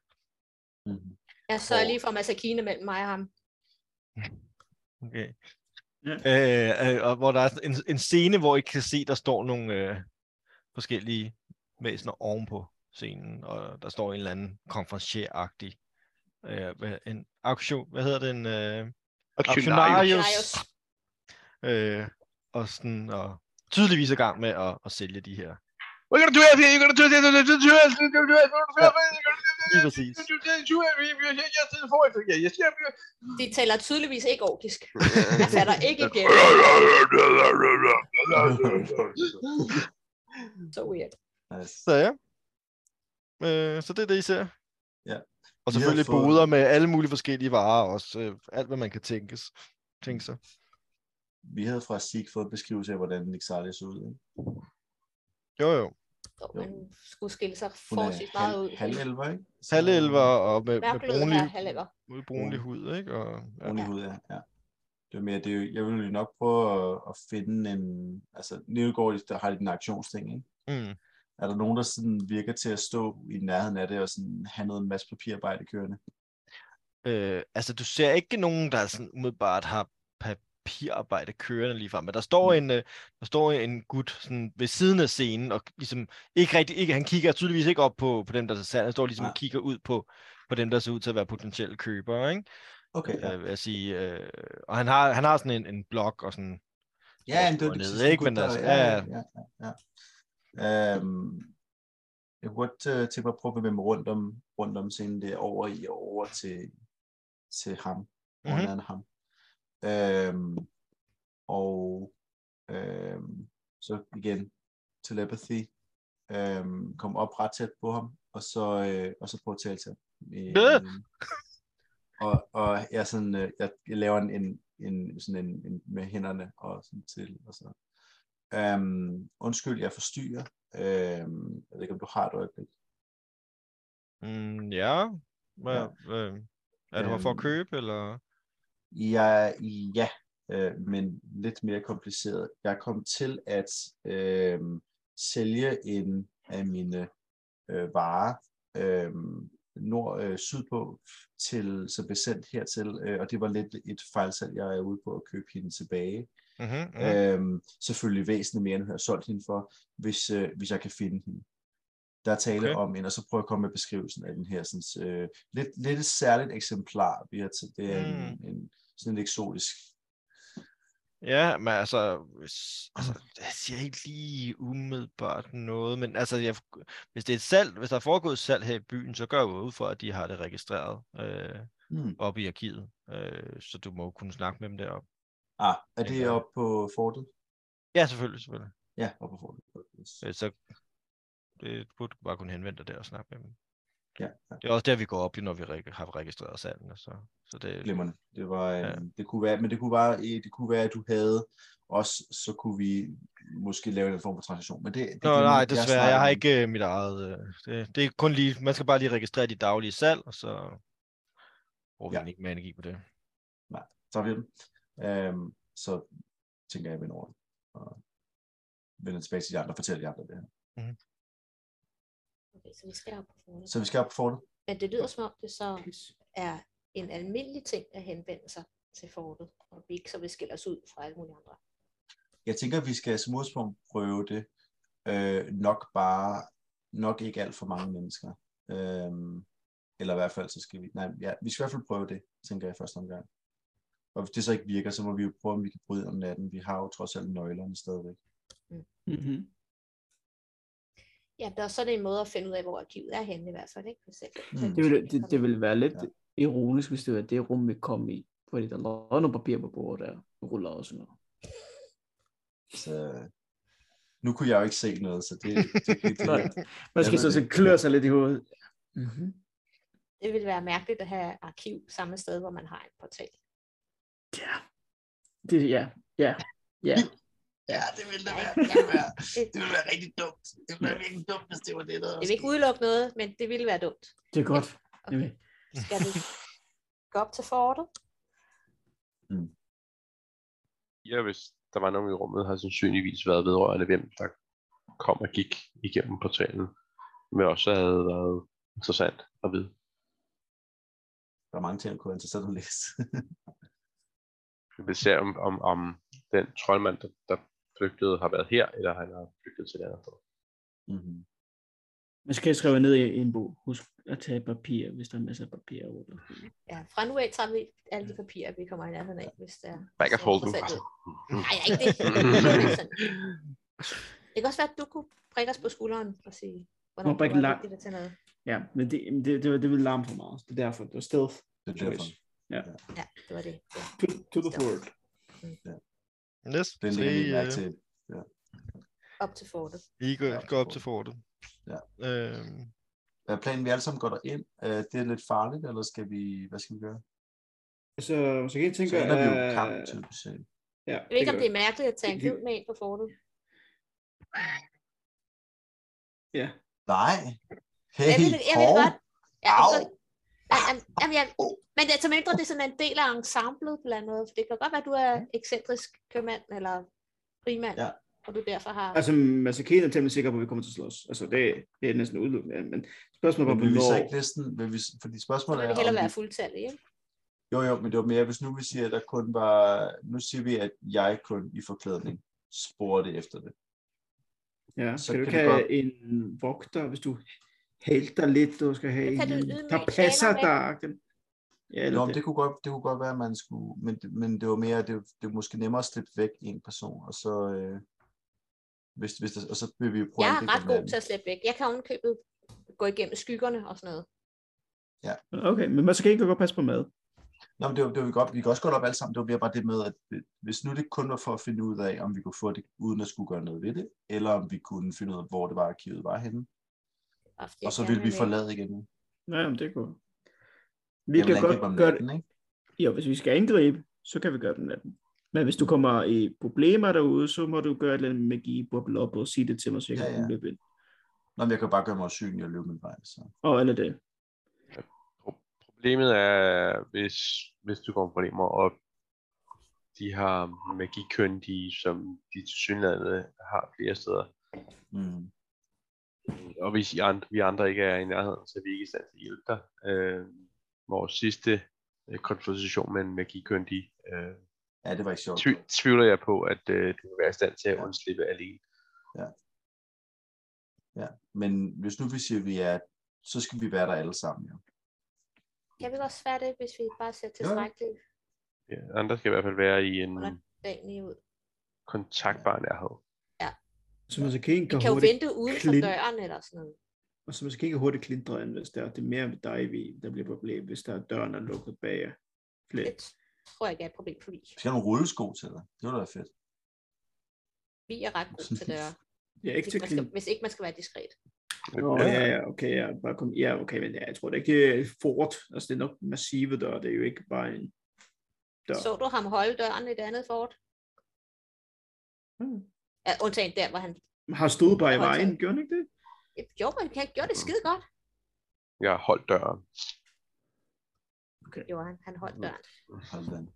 Mhm.
Jeg så
Hvor-
lige for masakine mellem mig og ham.
Okay.
Ja.
Øh, øh, og hvor der er sådan en, en scene, hvor I kan se, der står nogle øh, forskellige væsener ovenpå scenen, og der står en eller anden konferencier-agtig. Øh, hvad- en auktion, hvad hedder den? Øh,
Og Kynarius.
auktionarius.
Auktionarius.
Øh, og sådan, og tydeligvis er i gang med at, at sælge de her.
We're gonna do it, we're gonna do it, we're gonna do it, we're gonna do it, we're gonna do it, we're gonna do it,
Lige præcis.
we're gonna do it, we're gonna do it, yes, yes, forward, yeah, yes, yeah, yeah.
De taler tydeligvis ikke orkisk. Jeg fatter ikke igen. Så weird.
Nice.
Så ja. Øh, så det er det, I ser.
Ja.
Og
Vi har
selvfølgelig
fået-
boder med alle mulige forskellige varer også. Øh, alt, hvad man kan tænkes. Tænke sig.
Vi havde fra Sig fået beskrivelse af, hvordan Nixalia så ud. ikke?
Jo, jo.
Så man skulle skille sig
Hun
forholdsvis
er
meget
halv,
ud.
halvelver, ikke? Så-
halvelver
Øh,
og med, med
Mørklød
brunlig,
er halvælder.
med brunlig hud, ikke? Og, ja.
Brun i hovedet, ja. ja. Det var mere, det er jo, jeg ville jo nok prøve at, at finde en... Altså, Nivegård, der har lidt en aktionsting, ikke?
Mm.
Er der nogen, der sådan virker til at stå i nærheden af det, og sådan have noget en masse papirarbejde kørende?
Øh, altså, du ser ikke nogen, der sådan umiddelbart har papirarbejde kørende lige frem, men der står
Mm.
en, øh, der står en gut sådan ved siden af scenen, og ligesom ikke rigtig, ikke, han kigger tydeligvis ikke op på, på dem, der er til salg, han står ligesom
Nej.
og kigger ud på, på dem, der ser ud til at være potentielle købere, ikke?
Okay, ja.
Øh, vil jeg sige, øh, og han har, han har sådan en, en blok og sådan,
Ja, men det var
ned,
det sidste
ikke?
gut,
Men
der-
altså,
ja,
ja,
ja, ja, ja, ja. Øhm, jeg kunne godt øh, tænke mig at prøve at bevæge mig rundt om, rundt om scenen der over i og over til, til ham.
Mhm.
Mm-hmm. ham. Øhm, og øhm, så igen telepathy. Øhm, kom op ret tæt på ham, og så, øh, og så prøve at tale til ham.
Ja.
Øh, og, og jeg, er sådan, øh, jeg, jeg laver en, en, en, sådan en, en med hænderne og sådan til. Og så. øhm, undskyld, jeg forstyrrer. Øhm, jeg ved ikke, om du har et øjeblik.
mm, ja, hvad, øh, er du her for at
Øhm,
købe, eller?
Ja, ja øh, men lidt mere kompliceret. Jeg kom til at øh, sælge en af mine øh, varer øh, nord, øh, sydpå, til, som blev sendt hertil, øh, og det var lidt et fejlsalg, jeg er ude på at købe hende tilbage.
Mm-hmm, mm.
Mm. Øh, selvfølgelig væsentligt mere, end jeg har solgt hende for, hvis, øh, hvis jeg kan finde hende. Der er tale
Okay.
okay. om en, og så prøver jeg at komme med beskrivelsen af den her sådan, øh, lidt, lidt et særligt eksemplar. Vi har til, det er mm. en, en, sådan en eksotisk.
Ja, men altså, hvis- altså, jeg siger ikke lige umiddelbart noget, men altså, jeg, hvis det er et salg, hvis der er foregået salg her i byen, så gør jeg jo ud for, at de har det registreret øh,
Mm.
oppe i arkivet, øh, så du må jo kunne snakke med dem deroppe.
Ah, er det
Ja.
ja. oppe på fortet?
Ja, selvfølgelig, selvfølgelig.
Ja, oppe på fortet. Yes.
Øh, Så det burde du bare kunne henvende dig der og snakke med dem.
Ja, ja.
Det er også der, vi går op, jo, når vi reg- har registreret salgene. Så, så det,
glimrende. Det var,
Ja.
ja. det kunne være, men det kunne være, eh, det kunne være, at du havde også, så kunne vi måske lave en form for transaktion. Men det, det
Nå,
glemmer
nej,
jeg. Jeg
desværre.
snakker
Jeg har
om-
ikke øh, mit eget... Øh, det, det er kun lige... Man skal bare lige registrere de daglige salg, og så bruger vi
Ja.
egentlig ikke mere energi på det.
tager vi den. Øhm, så tænker jeg, at jeg vender over det, og vender tilbage til de andre og fortæller de andre det her.
Okay, så vi skal op på forhånd.
Så vi skal op på fortet.
Men det lyder som om, det så er en almindelig ting at henvende sig til fortet, og vi ikke så vil skille os ud fra alle mulige andre.
Jeg tænker, at vi skal som udgangspunkt prøve det. Øh, nok bare, nok ikke alt for mange mennesker. Øhm, eller i hvert fald, så skal vi, nej, ja, vi skal i hvert fald prøve det, tænker jeg i første omgang. Og hvis det så ikke virker, så må vi jo prøve, om vi kan bryde ind om natten. Vi har jo trods alt nøglerne stadigvæk.
Mm-hmm.
Ja, der er sådan en måde at finde ud af, hvor arkivet er henne i hvert fald, ikke? Hvis ikke
Mm.
Det, ville, det, det ville være lidt
Ja.
ja. ironisk, hvis det var det rum, vi kom i. Fordi der lå noget papir på bordet, der ruller og sådan noget.
Så, nu kunne jeg jo ikke se noget, så det, det, det, det,
Nej.
det
Man skal
Ja,
så, så
det-
klør sig lidt i hovedet. Mm-hmm.
Det ville være mærkeligt at have arkiv samme sted, hvor man har en portal.
Ja. Det, ja, ja, ja.
Ja, det ville da
Ja,
være,
ja.
det ville være,
Det-
det ville være rigtig dumt. Det ville være virkelig dumt, hvis det var det, der
Jeg vil ikke udelukke noget, men det ville være dumt.
Det er godt.
Okay.
Okay.
Skal vi gå op til fortet?
Ja, hvis der var nogen i rummet, har sandsynligvis været vedrørende, hvem der kom og gik igennem portalen. Men også havde været interessant at vide.
Der er mange ting, der kunne være interessant at læse.
Vi ser, om, om, om den troldmand, der, der flygtede, har været her, eller han har flygtet til et andet sted.
mm-hmm.
Man skal skrive ned i en bog. Husk at tage papir, hvis der er masser af papir. over det.
Ja, fra nu af tager vi alle de papirer, vi kommer i nærheden af, hvis der hvis
Man kan
der er
holde dem
interessant
fra sig.
ud.
Mm.
Nej, nej, ikke det. Det er ikke sådan. Det kan også være, at du kunne prikke os på skulderen og sige, hvornår
Må
det
prikke
var
lang-
vigtigt at tage noget.
Ja, men det, men det, det, var- det ville larme for meget. Det er derfor, det var stealth.
Det er derfor.
Ja, det var det. Ja.
To, to the forward.
Yes,
Den
så
lægger vi
I,
lige mærke
øh,
til.
Op til fortet.
I går,
Ja,
går op til fortet.
Ja.
Øhm,
Er planen, vi alle sammen går derind? Øh, det er lidt farligt, eller skal vi, hvad skal vi gøre?
Så, så kan jeg
Så
tænke...
ender vi jo i
øh,
kamp, typisk set.
Ja,
Jeg ved ikke, om det er mærkeligt at tage en
Det-
hvid med ind på fortet.
Ja.
Nej. Hey,
Jeg ved det- jeg ved det
hov.
godt. Ja, men
Au.
så- Jamen, jamen, jamen, jeg, men det, til mindre det er sådan en del af ensemblet blandt andet, for det kan godt være, at du er ekscentrisk købmand eller primand,
Mm. Ja.
ja. og du derfor har...
Altså, Masakine er temmelig sikker på, at vi kommer til at slås. Altså, det, det er næsten udelukkende. Men spørgsmålet
Men
var,
vil vi så
hvornår...
ikke næsten, vil vi, fordi
så
spørgsmålet
vil
er,
vi
om
hellere
vi,
være fuldtallig, ikke?
jo jo, men det var mere, hvis nu vi siger, at der kun var, nu siger vi, at jeg kun i forklædning spurgte efter det.
Ja,
Så
skal du
kan
ikke
vi
have en vogter, hvis du hælder lidt, du skal have
Det
en,
kan du
anden,
ydmyge
der passer
tjener
dig. Ja, eller
Nå, men
det.
det kunne godt, det kunne godt være, at man skulle, men, det- men det var mere, det, det var måske nemmere at slippe væk en person, og så, øh, hvis, hvis der, og så vil vi jo prøve
Jeg
at
er
angribe
ret god
hinanden.
til at slippe væk. Jeg kan ovenkøbet gå igennem skyggerne og sådan noget.
Okay, men man skal ikke godt passe på mad.
Nå, men det var, det var godt, vi kan også gå op alle sammen, det var mere bare det med, at hvis nu det kun var for at finde ud af, om vi kunne få det, uden at skulle gøre noget ved det, eller om vi kunne finde ud af, hvor det var, arkivet var henne,
Ofte,
og så ville vi forlade igen. Vi
Nej, men det går. Vi kan godt gøre det.
natten, ikke?
Jo, hvis vi skal angribe, så kan vi gøre det om natten. Men hvis du kommer i problemer derude, så må du gøre et eller andet magi, boble op og sige det til mig, så jeg
Ja,
kan
ja.
ja. løbe ind.
Nå, men jeg kan bare gøre mig usynlig og løbe min vej, så.
Og eller det.
Pro- Problemet er, hvis, hvis du kommer problemer, og de har magikyndige, som de tilsyneladende har flere steder,
Mm.
og hvis I andre, vi andre ikke er i nærheden, så er vi ikke i stand til at hjælpe dig. Øh, vores sidste øh, konfrontation med en magikyndig, øh,
Ja, det var ikke sjovt.
tv- tvivler jeg på, at øh, du vil være i stand til at undslippe alene.
Men hvis nu vi siger, at vi er, så skal vi være der alle sammen, ja.
Kan vi godt svære det, hvis vi bare ser tilstrækkeligt
Ja, andre skal i hvert fald være i en
Hvordan? dagen i ud?
kontaktbar nærhed.
Så man så kan,
Vi
kan
kan jo
hurtigt,
vente uden for
klin-
døren eller sådan noget.
og så man så kan hurtigt klindre ind, hvis der er det er mere med dig, vi, der bliver problem, hvis der er døren er lukket bag jer.
Det
Flere.
tror jeg ikke er et problem for vi.
Vi skal have nogle rullesko til dig. Det ville da være fedt.
Vi er ret gode til døre.
Ja, ikke
Hvis
til
ikke, man skal,
klin.
hvis ikke man skal være diskret.
Nå,
Øh,
ja, ja, okay, ja, bare kom, ja, okay, men ja, jeg tror det er ikke øh, fort, altså det er nok massive dør, det er jo ikke bare en dør.
Så du ham holde døren i det andet fort?
Hmm.
Ja, undtagen der, hvor han...
Har stået bare i
Højtaler.
vejen, gjorde den ikke det?
Jo, men han gjorde det skide godt.
Jeg har holdt døren.
Jo, han, han holdt døren.
Sådan.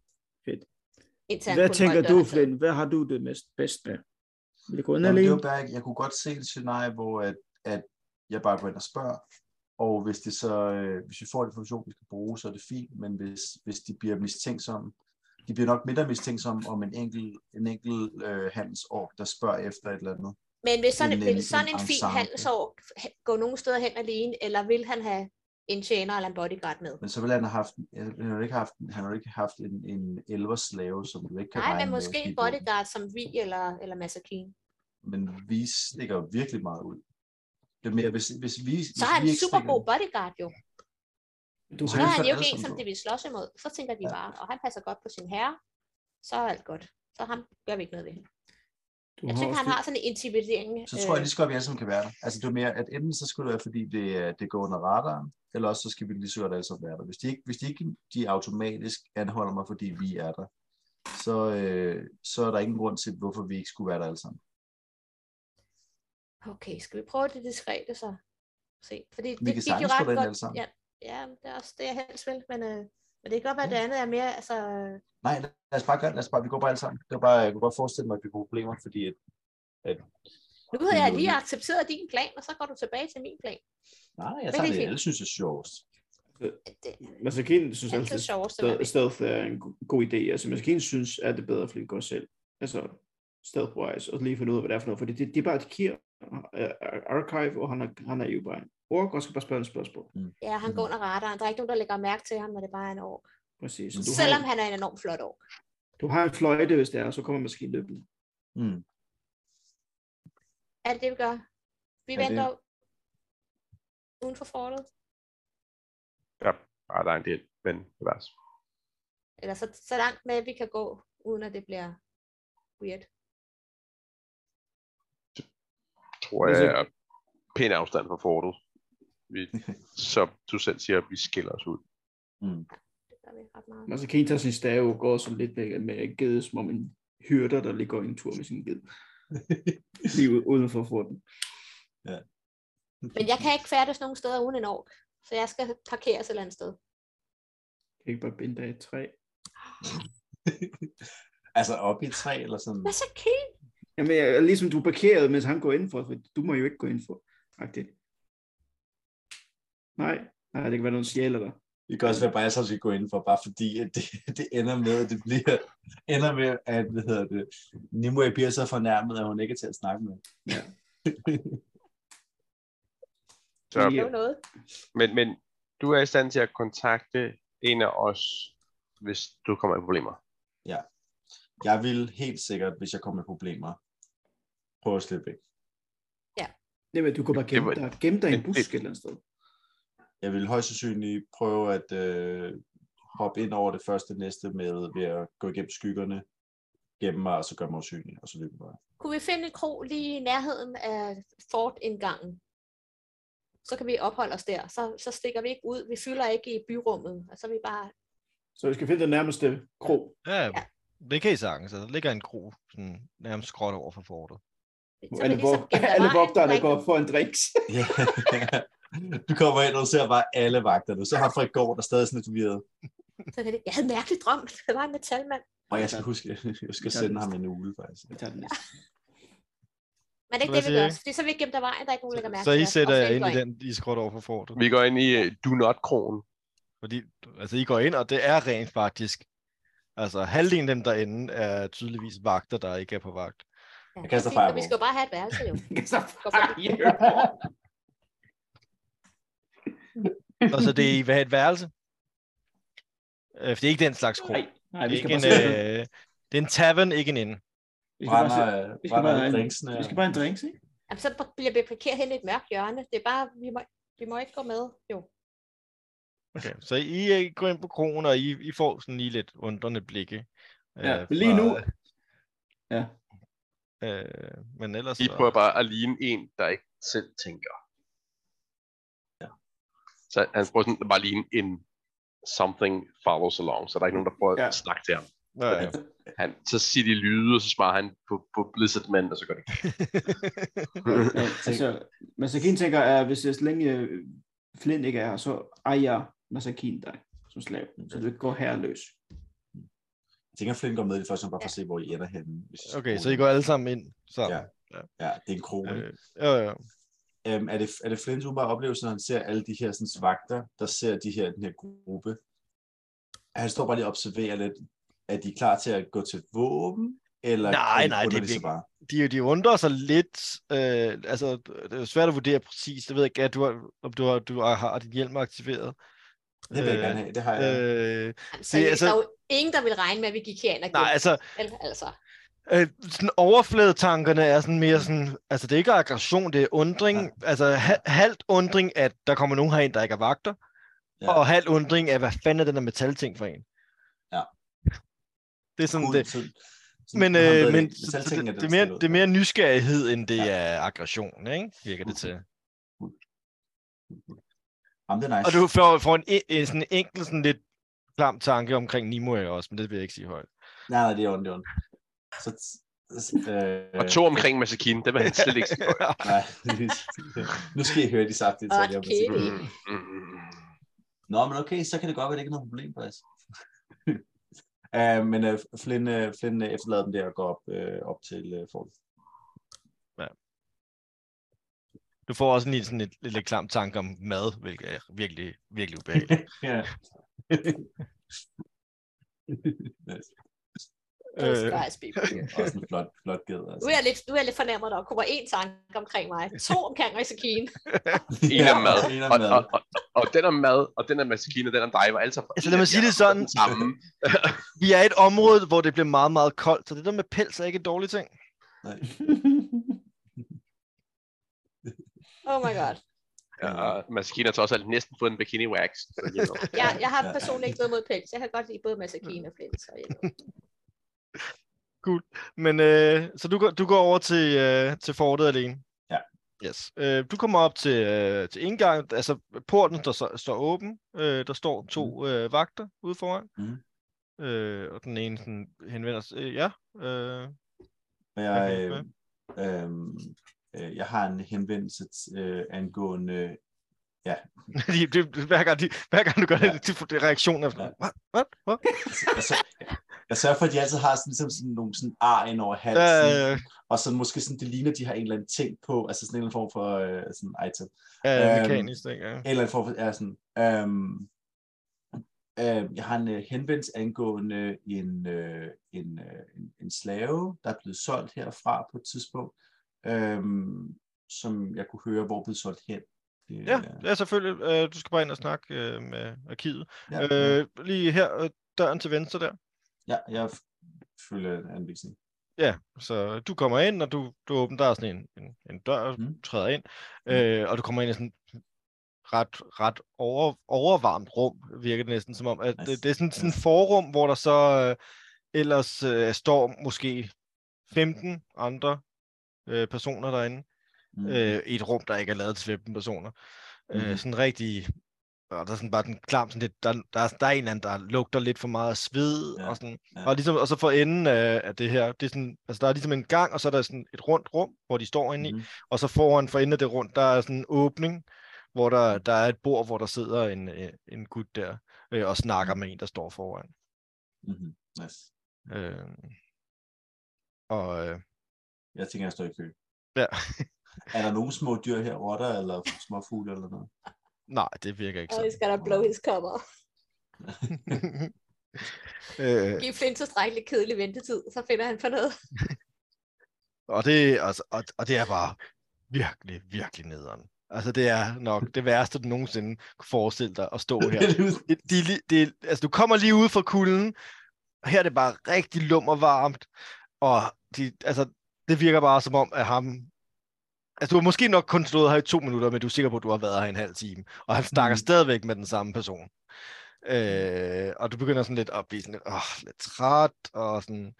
Indtil han
Hmm. Hvad
kunne
tænker
holde
du,
døren selv.
Flynn, hvad har du det mest bedst med? Vil du gå ind
Nå, men det
alene?
var bare, ikke- jeg kunne godt se et scenarie, hvor at, at jeg bare går ind og spørger, og hvis, det så, øh, hvis vi får den funktion, vi skal bruge, så er det fint, men hvis, hvis de bliver mistænksomme, de bliver nok mindre mistænksomme om en enkelt en enkel, øh, handelsorg, der spørger efter et eller andet.
Men vil sådan,
en-
vil
en
sådan en fin
ensemble.
handelsår h- gå nogen steder hen alene, eller vil han have en tjener eller en bodyguard med?
Men så ville han have haft, han har ikke haft, han har ikke haft en, en elverslave, som du ikke kan
Nej,
regne
men
med
måske
at
en
give våben.
bodyguard som vi eller, eller Masakine.
Men vi stikker jo virkelig meget ud. Det er mere, hvis, hvis vi,
Så
hvis
er han
vi
en
ikke
super
stikker-
god bodyguard jo.
Du
Så
Han
er
er
han
så
jo ikke en,
alle
som
sammen
de vil slås imod. Så tænker de
Ja.
bare, og han passer godt på sin herre, så er alt godt. Så ham gør vi ikke noget ved.
du
Jeg
har
synes,
også
han har sådan en øh, intimiderende...
så tror jeg lige så godt, vi alle sammen kan være der. Altså det er mere, at enten så skulle det være, fordi det, er- det går under radaren, eller også så skal vi lige så godt alle sammen være der. Hvis de ikke, hvis de, ikke de automatisk anholder mig, fordi vi er der, så, øh, så er der ingen grund til, hvorfor vi ikke skulle være der alle sammen.
Okay, skal vi prøve det diskrete så? Se, fordi det
kan
gik jo
sagtens
ret
gå derind
godt.
alle sammen.
Ja, ja, det er også det, jeg helst vil, men, øh, men det kan godt være, at det andet er mere, altså...
Nej, lad os bare gøre det. Lad os bare, vi går bare alle sammen. Det var bare, jeg kunne godt forestille mig, at vi kunne have problemer, fordi at,
Nu havde jeg
Nå,
lige
ja.
accepteret din plan, og så går du tilbage til min plan.
nej,
Men
jeg tager
det er
det,
fint.
alle synes det er sjovt.
Det
Masakin synes
er altid
altid,
sjovest at være
stealth- stealth er en go- god idé. Altså Masakin synes, at det er bedre, fordi det går selv. Altså stealth-wise, og lige finde ud af, hvad det er for noget. Fordi det, det er bare et kir øh, archive, og han er, han er jo bare en ork, og skal bare spørge en spørgsmål.
Ja, han går under radaren. Der er ikke nogen, der lægger mærke til ham, når det bare er en ork.
Præcis.
Men
Så du,
Selvom
har,
han er en enormt flot ork.
du har en fløjte, hvis det er, og så kommer Masakin løbende.
Mm.
Er det det, vi gør? Vi
Ja, det-
venter uden for fortet.
Ja, bare der er en del, men det var så.
Eller så, så langt med, at vi kan gå, uden at det bliver weird.
tror
Altså-
jeg er pæn afstand fra fortet. Vi, som du selv siger, vi skiller os ud.
Det gør vi ret meget.
Masakin tager sin stave og går sådan lidt med, med gede, som om en hyrder, der lige går en tur med sin ged. lige u- uden for forten.
Men jeg kan ikke færdes nogen steder uden en ork. Så jeg skal parkeres et eller andet sted.
Kan ikke bare binde dig i et træ.
altså op i et træ eller sådan.
Hvad så kæm?
Jamen, jeg, jeg- ligesom du er parkeret, mens han går indenfor, for du må jo ikke gå indenfor. Agtigt. Nej, nej, det kan være, nogen sjæler der.
Det kan også være, bare jeg så skal gå indenfor, bare fordi at det, det ender med, at det bliver, ender med, at, hvad hedder det, Nimue bliver så fornærmet, at hun ikke er til at snakke med.
Så,
Ja.
Det er jo noget.
men, men du er i stand til at kontakte en af os, hvis du kommer i problemer.
Jeg vil helt sikkert, hvis jeg kommer i problemer, prøve at slippe væk.
Jamen, du kan bare gemme
Det
dig, gemme dig i en
det-
busk et eller andet sted.
Jeg vil højst sandsynligt prøve at øh, hoppe ind over det første næste med ved at gå igennem skyggerne, gemme mig, og så gøre mig usynlig, og så løbe bare.
Kunne vi finde en krog lige i nærheden af fortindgangen? Så kan vi opholde os der. Så, så stikker vi ikke ud. Vi fylder ikke i byrummet. Og så er vi bare...
Så vi skal finde den nærmeste kro.
Ja,
Ja.
det kan I sagtens. Altså, der ligger en kro sådan, nærmest skråt over for fortet.
Så er
alle
vi
hvor,
ligesom gemt af
alle
vejen,
vogterne
der er
går
ikke-
for en drink.
Ja. Du kommer ind, og du ser bare alle vagterne. Så har Frederik Gård, der stadig er sådan lidt forvirret.
Så kan det, jeg havde en mærkelig drøm. Det var en metalmand.
Og jeg skal huske, jeg skal sende ham en ugle, faktisk.
Jeg tager den næste.
Men det er ikke det,
Hvad
vi
siger
gør.
I?
Fordi så er vi gemt af vejen, der er ikke nogen, der lægger mærke
Så I
til os, og
sætter
slet
jer
ikke
ind
går
i den, I er skråt over for fortet.
Vi går ind i øh, Do Not-krogen.
Fordi altså, I går ind, og det er rent faktisk. Altså, halvdelen af dem derinde er tydeligvis vagter, der ikke er på vagt.
Ja,
Jeg
præcis, og
kaster
Vi
fireball.
skal jo bare have et værelse jo.
Så
Og så det er, hvad er et værelse? Øh, for det er ikke den slags kro.
Nej, nej,
det,
vi
er
skal
ikke
bare
en,
sætte den.
øh, det er en tavern, ikke en inde.
Vi skal bare
Brænder,
sætte- vi skal bare
brænder øh.
en-
drinksene.
Vi skal bare en drinks, ikke?
Jamen, så bliver vi parkeret hen i et mørkt hjørne. Det er bare, vi må, vi må ikke gå med. Jo.
Okay, så I øh, går ind på kronen, og I, I får sådan lige lidt undrende blikke.
Ja, men lige nu- Ja.
Øh, men ellers...
I
så-
prøver bare at ligne en, der ikke selv tænker. Så han prøver sådan, bare lige en, en something follows along, så der er ikke nogen, der prøver ja.
Ja.
at snakke til ham.
Nå, ja.
Han, så siger de lyde, og så svarer han på, på Blizzard Man, og så går det.
Ja, altså, Masakin tænker, at hvis jeg, så længe øh, Flint ikke er her, så ejer Masakin dig som slav, så du ikke går herreløs.
Jeg tænker, at Flynn går med i det første, bare for
Ja.
at se, hvor I ender henne. Hvis
Okay, så I går alle sammen ind. Så.
Ja. Ja, det er en krone.
Øh, jo, jo.
Øhm, er, det, er det Flints umiddelbare oplevelse, når han ser alle de her sådan, vagter, der ser de her, den her gruppe? At Han står bare lige og observerer lidt. Er de klar til at gå til våben? Eller
Nej, nej, det
under
er
sig
ikke-
bare?
De, de undrer sig lidt. Øh, altså, det er jo svært at vurdere præcis. Jeg ved ikke, at du har, om du har, du har, har din hjelm aktiveret.
Det vil jeg
Øh,
gerne have. Det har jeg. Øh,
Øh,
Altså,
Det er
det, altså...
altså-
Der er jo ingen, der vil regne med, at vi gik herind og
nej,
gjorde
altså,
det, vel? altså.
Øh, sådan overfladetankerne er sådan mere sådan, altså det er ikke aggression, det er undring, ja. altså ha- halvt undring, at der kommer nogen herind, der ikke er vagter, ja.
Ja.
og halvt undring af, hvad fanden er den der metalting for en?
Ja.
Det er sådan
cool,
det.
Så, så
Men,
han ved
øh, men
ikke.
så,
Selv
så
tænker jeg,
det, det,
der
er mere,
skal
det er mere nysgerrighed, end det
Ja.
er aggression, ikke? virker det til.
noget. Jamen, det er nice.
Og du får, får en, en, en sådan enkelt, sådan lidt klam tanke omkring Nimo også, men det vil jeg ikke sige højt.
Nej, nej, det er ondt, det er ondt. Så, så, øh,
Og to omkring Masakine, det var han slet ikke sige.
Nej, nu skal I høre de samtidig. så jeg må sige.
Okay.
Mm, mm, mm.
Nå, men okay, så kan det godt være, det ikke er noget problem, faktisk. uh, men uh, Flynn, uh, Flynn uh, efterlader dem der og går op, uh, op til uh, Ford.
Du får også en lille, sådan et, lidt, lidt klam tanke om mad, hvilket er virkelig, virkelig ubehageligt.
Ja.
Those
Øh.
guys be weird.
Også en flot, flot ged.
Nu
Altså.
er jeg lidt, nu er jeg lidt fornærmet, at der kommer én tanke omkring mig. To omkring Masakine.
En
Ja,
om mad,
en
og,
af mad.
og, og, og, den om mad, og den om Masakine, og den om dig, var alle sammen...
Altså, lad mig sige det sådan.
Sammen.
Vi er i et område, hvor det bliver meget, meget koldt, så det der med pels er ikke en dårlig ting.
Nej.
Oh my god.
Ja, og Masakine har trods alt næsten fået en bikini wax. så you know.
Jeg, jeg har
Ja.
personligt ikke noget mod pels. Jeg kan godt lide både Masakine og Flint. Så jeg
Men øh, så du, går- du går over til, øh, til fortet alene.
Ja.
Yes. Øh, du kommer op til, øh, til indgangen. Altså, porten der så, står åben. Øh, der står
Mm.
to øh, vagter ude foran. Øh, og den ene sådan, henvender sig. Øh, ja. Øh,
Og Jeg,
Okay,
øh, øh, øh, jeg har en henvendelse t- øh, angående...
de, de, hver, gang de, hver gang du gør
Ja.
det, de får det reaktion af,
Ja.
hvad, hvad, hvad?
Jeg, sør, jeg sørger for, at de altid har sådan, ligesom sådan nogle sådan ar ind over halsen.
Øh,
Og så måske sådan, det ligner, de har en eller anden ting på, altså sådan en eller anden form for øh, sådan item.
øh,
Øhm,
mekanisk, ting, ja.
En eller anden form for, er sådan, øhm, øhm, jeg har en øh, henvendelse angående en, øh, en, øh, en, en slave, der er blevet solgt herfra på et tidspunkt, øhm, som jeg kunne høre, hvor blev solgt hen. Det,
Ja,
er-
ja selvfølgelig. Øh, du skal bare ind og snakke øh, med arkivet.
ja, øh,
Øh, lige her, øh, døren til venstre der.
ja, jeg f- følger en anvisning.
Ja, så du kommer ind, og du, du åbner, der er sådan en, en, en dør, du
Mm.
træder ind, øh, og du kommer ind i sådan ret, ret over, overvarmt rum, virker det næsten som om. At
Nice.
det, det er sådan sådan et
Ja.
forrum, hvor der så øh, ellers øh, står måske 15 andre øh, personer derinde,
Mm.
øh, i et rum, der ikke er lavet til 15 personer.
Mhm.
Øh, sådan rigtig... Og der er sådan bare den klam, sådan lidt, der, der, er, der er en eller anden, der lugter lidt for meget af sved, ja,
Ja,
og, sådan, ja.
ja.
og, ligesom, og så for enden af, af det her, det er sådan, altså der er ligesom en gang, og så er der sådan et rundt rum, hvor de står inde i,
Mhm.
og så foran for enden af det rundt, der er sådan en åbning, hvor der, der er et bord, hvor der sidder en, øh, en gut der, øh, og snakker med en, der står foran.
Mhm. Nice.
Øh, og øh,
Jeg tænker, jeg står i kø.
Ja.
er der nogle små dyr her, rotter eller små fugle eller noget?
nej, det virker ikke
oh,
sådan.
he's gonna blow his cover.
øh,
Giv Flint tilstrækkeligt kedelig ventetid, så finder han på noget.
Og det, altså, og, og det er bare virkelig, virkelig nederen. Altså, det er nok det værste, du nogensinde kunne forestille dig at stå her. Det, de, er li- det, er- altså, du kommer lige ud fra kulden, og her er det bare rigtig lummervarmt, og de, altså, det virker bare som om, at ham... Altså, du har måske nok kun stået her i to minutter, men du er sikker på, at du har været her i en halv time, og han snakker
Mhm.
stadigvæk med den samme person. Øh, og du begynder sådan lidt at blive sådan lidt, åh, lidt træt, og sådan,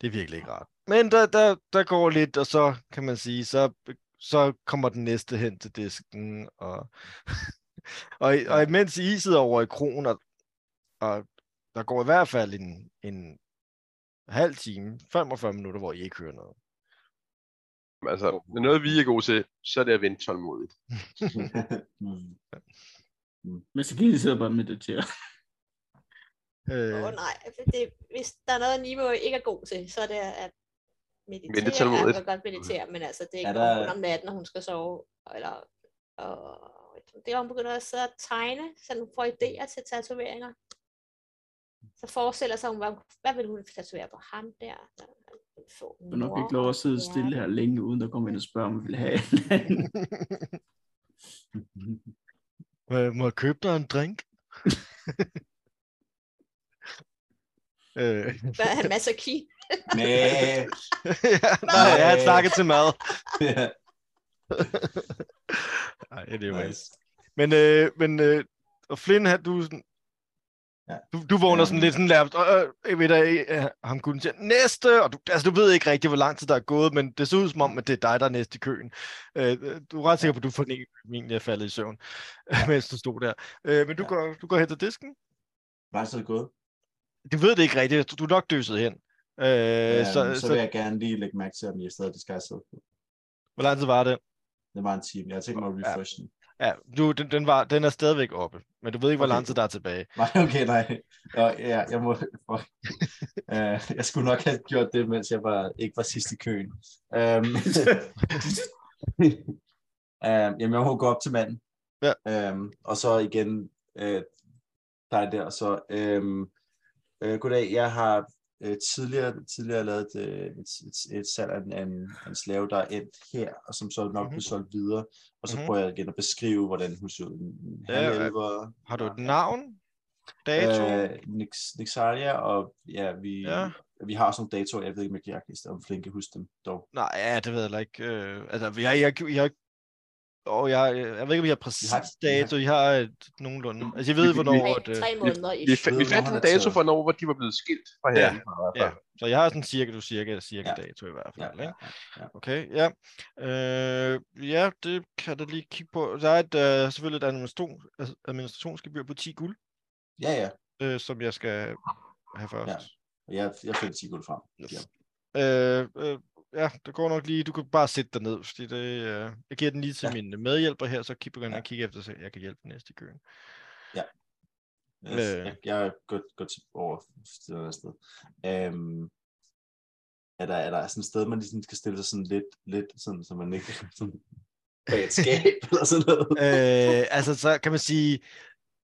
det er virkelig ikke rart. Men der, der, der går lidt, og så kan man sige, så, så kommer den næste hen til disken, og Og, i- og imens I sidder over i krogen, og, og der går i hvert fald en, en halv time, 45 minutter, hvor I ikke hører noget.
Altså, når noget vi er gode til, så er det at vente tålmodigt.
Mm.
Men så gider de sidder bare og mediterer.
Åh
Øh,
oh, nej, det, hvis der er noget, Nimo ikke er god til, så er det at meditere.
Vente tålmodigt.
Jeg kan godt meditere, men altså, det er
Er
ikke
der-
der... kun om natten, når hun skal sove. Eller, og, det er, hvor hun begynder at sidde og tegne, så hun får idéer til tatoveringer. Så forestiller sig hun, hvad, hvad vil hun tatovere på ham der? Hvad vil hun få?
Du nok ikke lov at sidde
Ja.
stille her længe, uden at komme ind og spørge, om vi vil have et eller andet.
øh, må jeg købe dig en drink? øh,
Hvad er han masser ki?
Næh.
ja, nej, jeg har
Nej.
snakket til mad.
Ja.
Nej, det er jo nice.
Nice.
Men, øh, men øh, og Flynn, han, du, er sådan-
Ja.
du, du vågner
Ja.
sådan lidt sådan lærmest, øh, øh, ved dig, øh, ham kunne til næste, og du, altså, du ved ikke rigtig, hvor lang tid der er gået, men det ser ud som om, at det er dig, der er næste i køen. Øh, øh, du er ret sikker på, at du fornemmer, at min er faldet i søvn, mens du stod der. Øh, men du,
Ja.
går, du går hen til disken.
Hvad så er det gået?
Du ved det ikke rigtigt, du, du er nok døset hen. Øh,
Øh,
så,
så,
så,
så, vil jeg gerne lige lægge mærke til, om I er stadig disguised.
hvor lang tid var det?
Det var en time. Jeg har tænkt mig at
Ja.
refresh den.
Ja, du, den, den, var, den er stadigvæk oppe, men du ved ikke, hvor
Okay.
lang tid der er tilbage.
Nej, okay, nej. Nå, ja, jeg, må, fuck. Øh, jeg skulle nok have gjort det, mens jeg var, ikke var sidst i køen. Øhm, øhm, jamen, jeg må gå op til manden.
Ja.
Øhm, og så igen øh, dig der, og så... Øhm, øh, goddag, jeg har øh, tidligere, tidligere lavet et, øh, et, et, et salg af en, af en, af en slave, der er endt her, og som så nok
Mhm.
blev solgt videre. Og så
Mhm.
prøver jeg igen at beskrive, hvordan hun så ud. En
Ja, ja.
halvelver,
Har du
Ja.
et navn? Dato?
Øh, Nix, Nixalia, og ja, vi,
Ja.
ja. vi har også nogle datoer, jeg ved ikke, om jeg kan, om Flink kan huske dem dog.
Nej, ja, det ved jeg heller ikke. Øh, altså, jeg, jeg, jeg, jeg, og jeg, øh, jeg ved ikke, om jeg har præcis
har- vi har-
dato. I har et nogenlunde. Altså, jeg ved,
vi-
hvornår...
Tre,
At, øh,
tre måneder i.
Vi, fa- vi
Ved,
fandt
hvor
en
han er
dato
taget.
for, når hvor de var blevet skilt fra
Ja.
hinanden. Ja.
ja, så jeg har sådan cirka, du cirka, cirka
Ja.
dato i hvert
Ja,
fald.
ja,
Ikke?
ja.
Okay, ja. Øh, ja, det kan jeg da lige kigge på. Der er et, øh, selvfølgelig et administration, altså administrationsgebyr på 10 guld,
ja, ja.
øh, som jeg skal have først. Ja.
Og Jeg, jeg fandt 10 guld frem.
Yes.
Ja.
Øh, øh, ja, det går nok lige. Du kan bare sætte dig ned, fordi det, øh, jeg giver den lige til ja.
Ja.
mine medhjælper her, så kig- begynder jeg
Ja.
at kigge efter, så jeg kan hjælpe den næste i køen.
Yes,
Øh.
Jeg, jeg går, går til over til det andet sted. Øhm, er, der, er der sådan et sted, man ligesom skal stille sig sådan lidt, lidt sådan, så man ikke sådan, bag et skab eller sådan noget?
øh, altså, så kan man sige,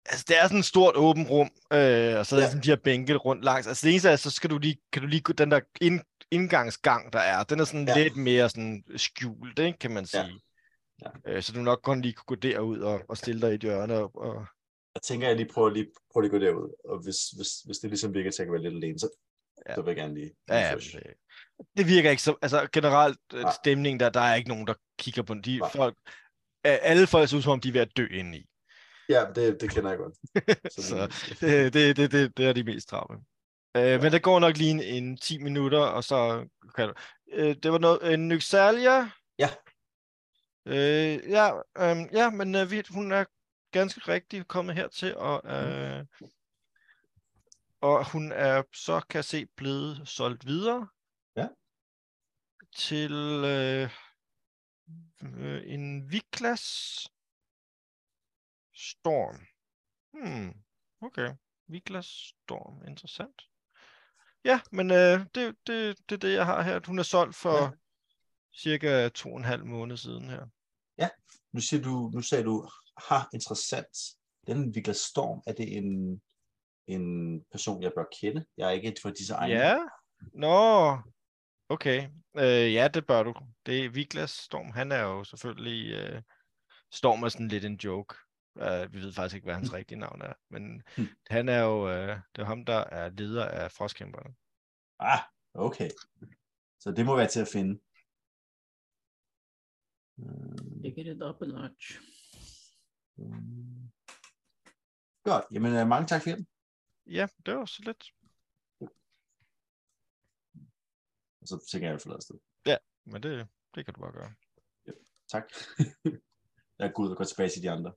altså, det er sådan et stort åbent rum, øh, og så er der
Ja.
sådan de her bænke rundt langs. Altså, det eneste er, så skal du lige, kan du lige gå den der ind, indgangsgang, der er, den er sådan ja.
Ja.
lidt mere sådan skjult, ikke, kan man
Ja.
sige. Ja. Øh, så du nok kun lige kunne gå derud og, og stille dig i et hjørne. Og, og...
Jeg tænker, jeg lige prøver, lige, prøver lige at gå derud, og hvis, hvis, hvis det ligesom virker til at jeg kan være lidt alene, så,
Ja.
ja. så vil jeg gerne lige
Ja,
refresh.
men, øh, det virker ikke så, altså generelt øh,
Nej.
stemningen der, der er ikke nogen, der kigger på den. de
Nej.
folk, øh, alle folk ser ud som om, de er ved at dø indeni.
Ja, det, det kender jeg godt.
Så, øh, det, det, det, det, det er de mest travle. Øh, men der går nok lige en, en 10 minutter, og så kan du... Øh, det var noget... Øh, Nyxalia?
Ja.
Øh, ja, øh, ja, men øh, vi, hun er ganske rigtig kommet hertil, og, øh,
Mm.
og hun er så, kan jeg se, blevet solgt videre.
Ja.
Til øh, øh, en Viklas Storm. Hmm, okay. Viklas Storm, interessant. Ja, men øh, det, det, det er det, jeg har her. Hun er solgt for ja.
Ja.
cirka to og en halv måned siden her.
Nu, siger du, nu sagde du, ha, interessant. Den Niklas Storm, er det en, en person, jeg bør kende? Jeg er ikke et for disse egne.
Ja? Nå, okay. Øh, ja, det bør du. Det er Viklas Storm. Han er jo selvfølgelig... Øh, Storm er sådan lidt en joke. Uh, vi ved faktisk ikke, hvad hans rigtige navn er. Men
Hmm.
han er jo... Øh, det er jo ham, der er leder af Frostkæmperne.
Ah, okay. Så det må være til at finde. Øhm,
Jeg get it up a notch.
øhm. Godt, jamen øh, mange tak for hjælpen.
Ja, det var så lidt.
Og så tænker jeg, at jeg forlader sted.
Men det, det kan du bare gøre.
Tak. jeg er god og går tilbage til de andre.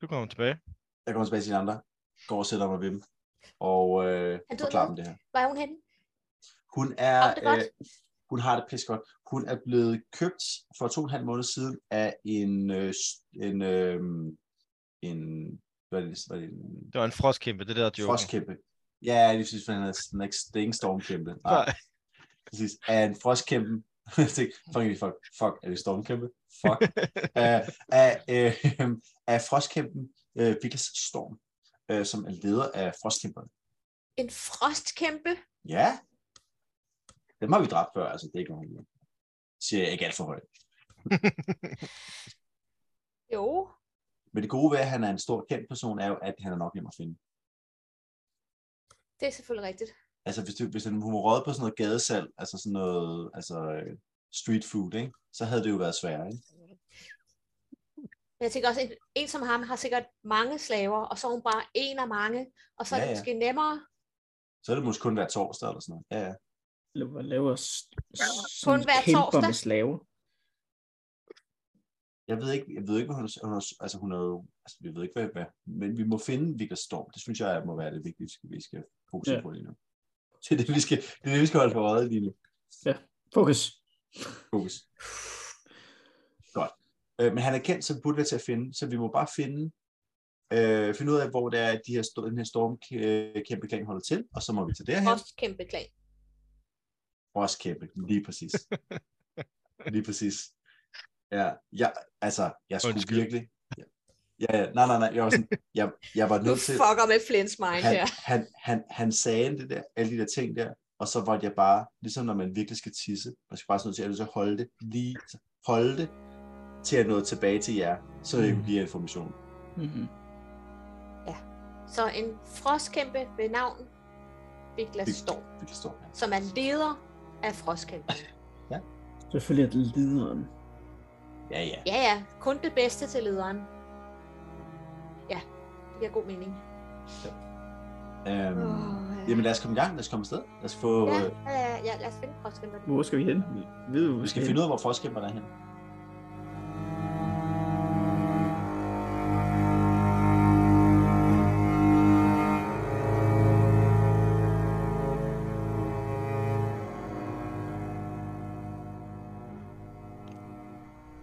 Du kommer tilbage.
Jeg kommer tilbage til de andre, går og sætter mig ved dem, og øh,
Er du
forklarer
med?
dem det her.
Hvor er hun henne?
Hun er,
Har du det godt?
øh, hun har det pisse godt. Hun er blevet købt for to og en halv måned siden af en, øh, s- en, øh, en, hvad er det, hvad er det, en
Det var en frostkæmpe, det der joke.
frostkæmpe. Ja, lige præcis, for han havde sådan ikke- det er ikke en stormkæmpe. Nej,
Nej,
præcis. Af en frostkæmpe. Jeg tænkte, fuck, er det- fuck, fuck, er det stormkæmpe? Fuck. af, af, øh, af frostkæmpen øh, Vikas Storm, øh, som er leder af frostkæmperne.
En frostkæmpe?
Ja. Dem har vi dræbt før, altså det er ikke nogen. Siger jeg ikke alt for højt.
Jo.
Men det gode ved, at han er en stor kendt person, er jo, at han er nok nem at finde.
Det er selvfølgelig rigtigt.
Altså, hvis, du, hvis han hun var røget på sådan noget gadesalg, altså sådan noget altså, øh, street food, ikke? så havde det jo været sværere. Ikke?
Men jeg tænker også, en, en som ham har sikkert mange slaver, og så er hun bare en af mange, og så er
Ja,
det
ja.
måske nemmere.
Så er det måske kun hver torsdag eller sådan noget. Ja, ja.
Eller hvad laver s-
Kun
sådan
hver
kæmper
torsdag.
med slaver?
Jeg ved ikke, jeg ved ikke, hvad hun, hun er, altså hun er jo, altså vi ved ikke, hvad, hvad men vi må finde Victor Storm. Det synes jeg må være det vigtigste, vi skal fokusere
Ja.
ja. på lige nu. Det er det, vi skal, det er det, vi skal holde for øjet lige nu.
Fokus.
Fokus. Godt. Øh, men han er kendt som Buddha til at finde, så vi må bare finde, øh, finde ud af, hvor det er, at de her, sto- den her stormkæmpe klan holder til, og så må vi til derhen.
Frostkæmpe klan.
Frostkæmpe, lige præcis. lige præcis. Ja, jeg, altså, jeg skulle
Undskyld.
Undskyld. virkelig... Ja, ja, ja, nej, nej, nej, jeg var, sådan, jeg, jeg var
Du
nødt til...
fucker med Flint's mind
han,
her.
han, han, han sagde det der, alle de der ting der, og så var jeg bare, ligesom når man virkelig skal tisse, man skal bare sådan noget til, at jeg er nødt til at holde det, lige holde det, til at nå tilbage til jer, så Mm. jeg kunne give jer information.
Mm-hmm.
Så en frostkæmpe ved navn Viglas
Vig-
Storm,
Vi kan stå her.
som er leder af frostkæmpe.
Selvfølgelig er det lederen.
Ja, ja.
Ja, ja. Kun det bedste til lederen. Ja, det giver god mening.
Øhm,
Åh, ja.
Jamen lad os komme i gang, lad os komme afsted. Lad os få,
Ja,
ja.
ja, ja, ja, lad os finde frostkæmpe.
Hvor skal vi hen? Ved du, hvor
vi skal finde ud af, hvor forskæmperne er hen.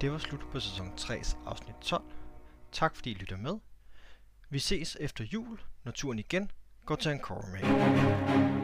det var slut på sæson 3's afsnit 12. Tak fordi I lytter med. Vi ses efter jul, når turen igen går til Anchorage.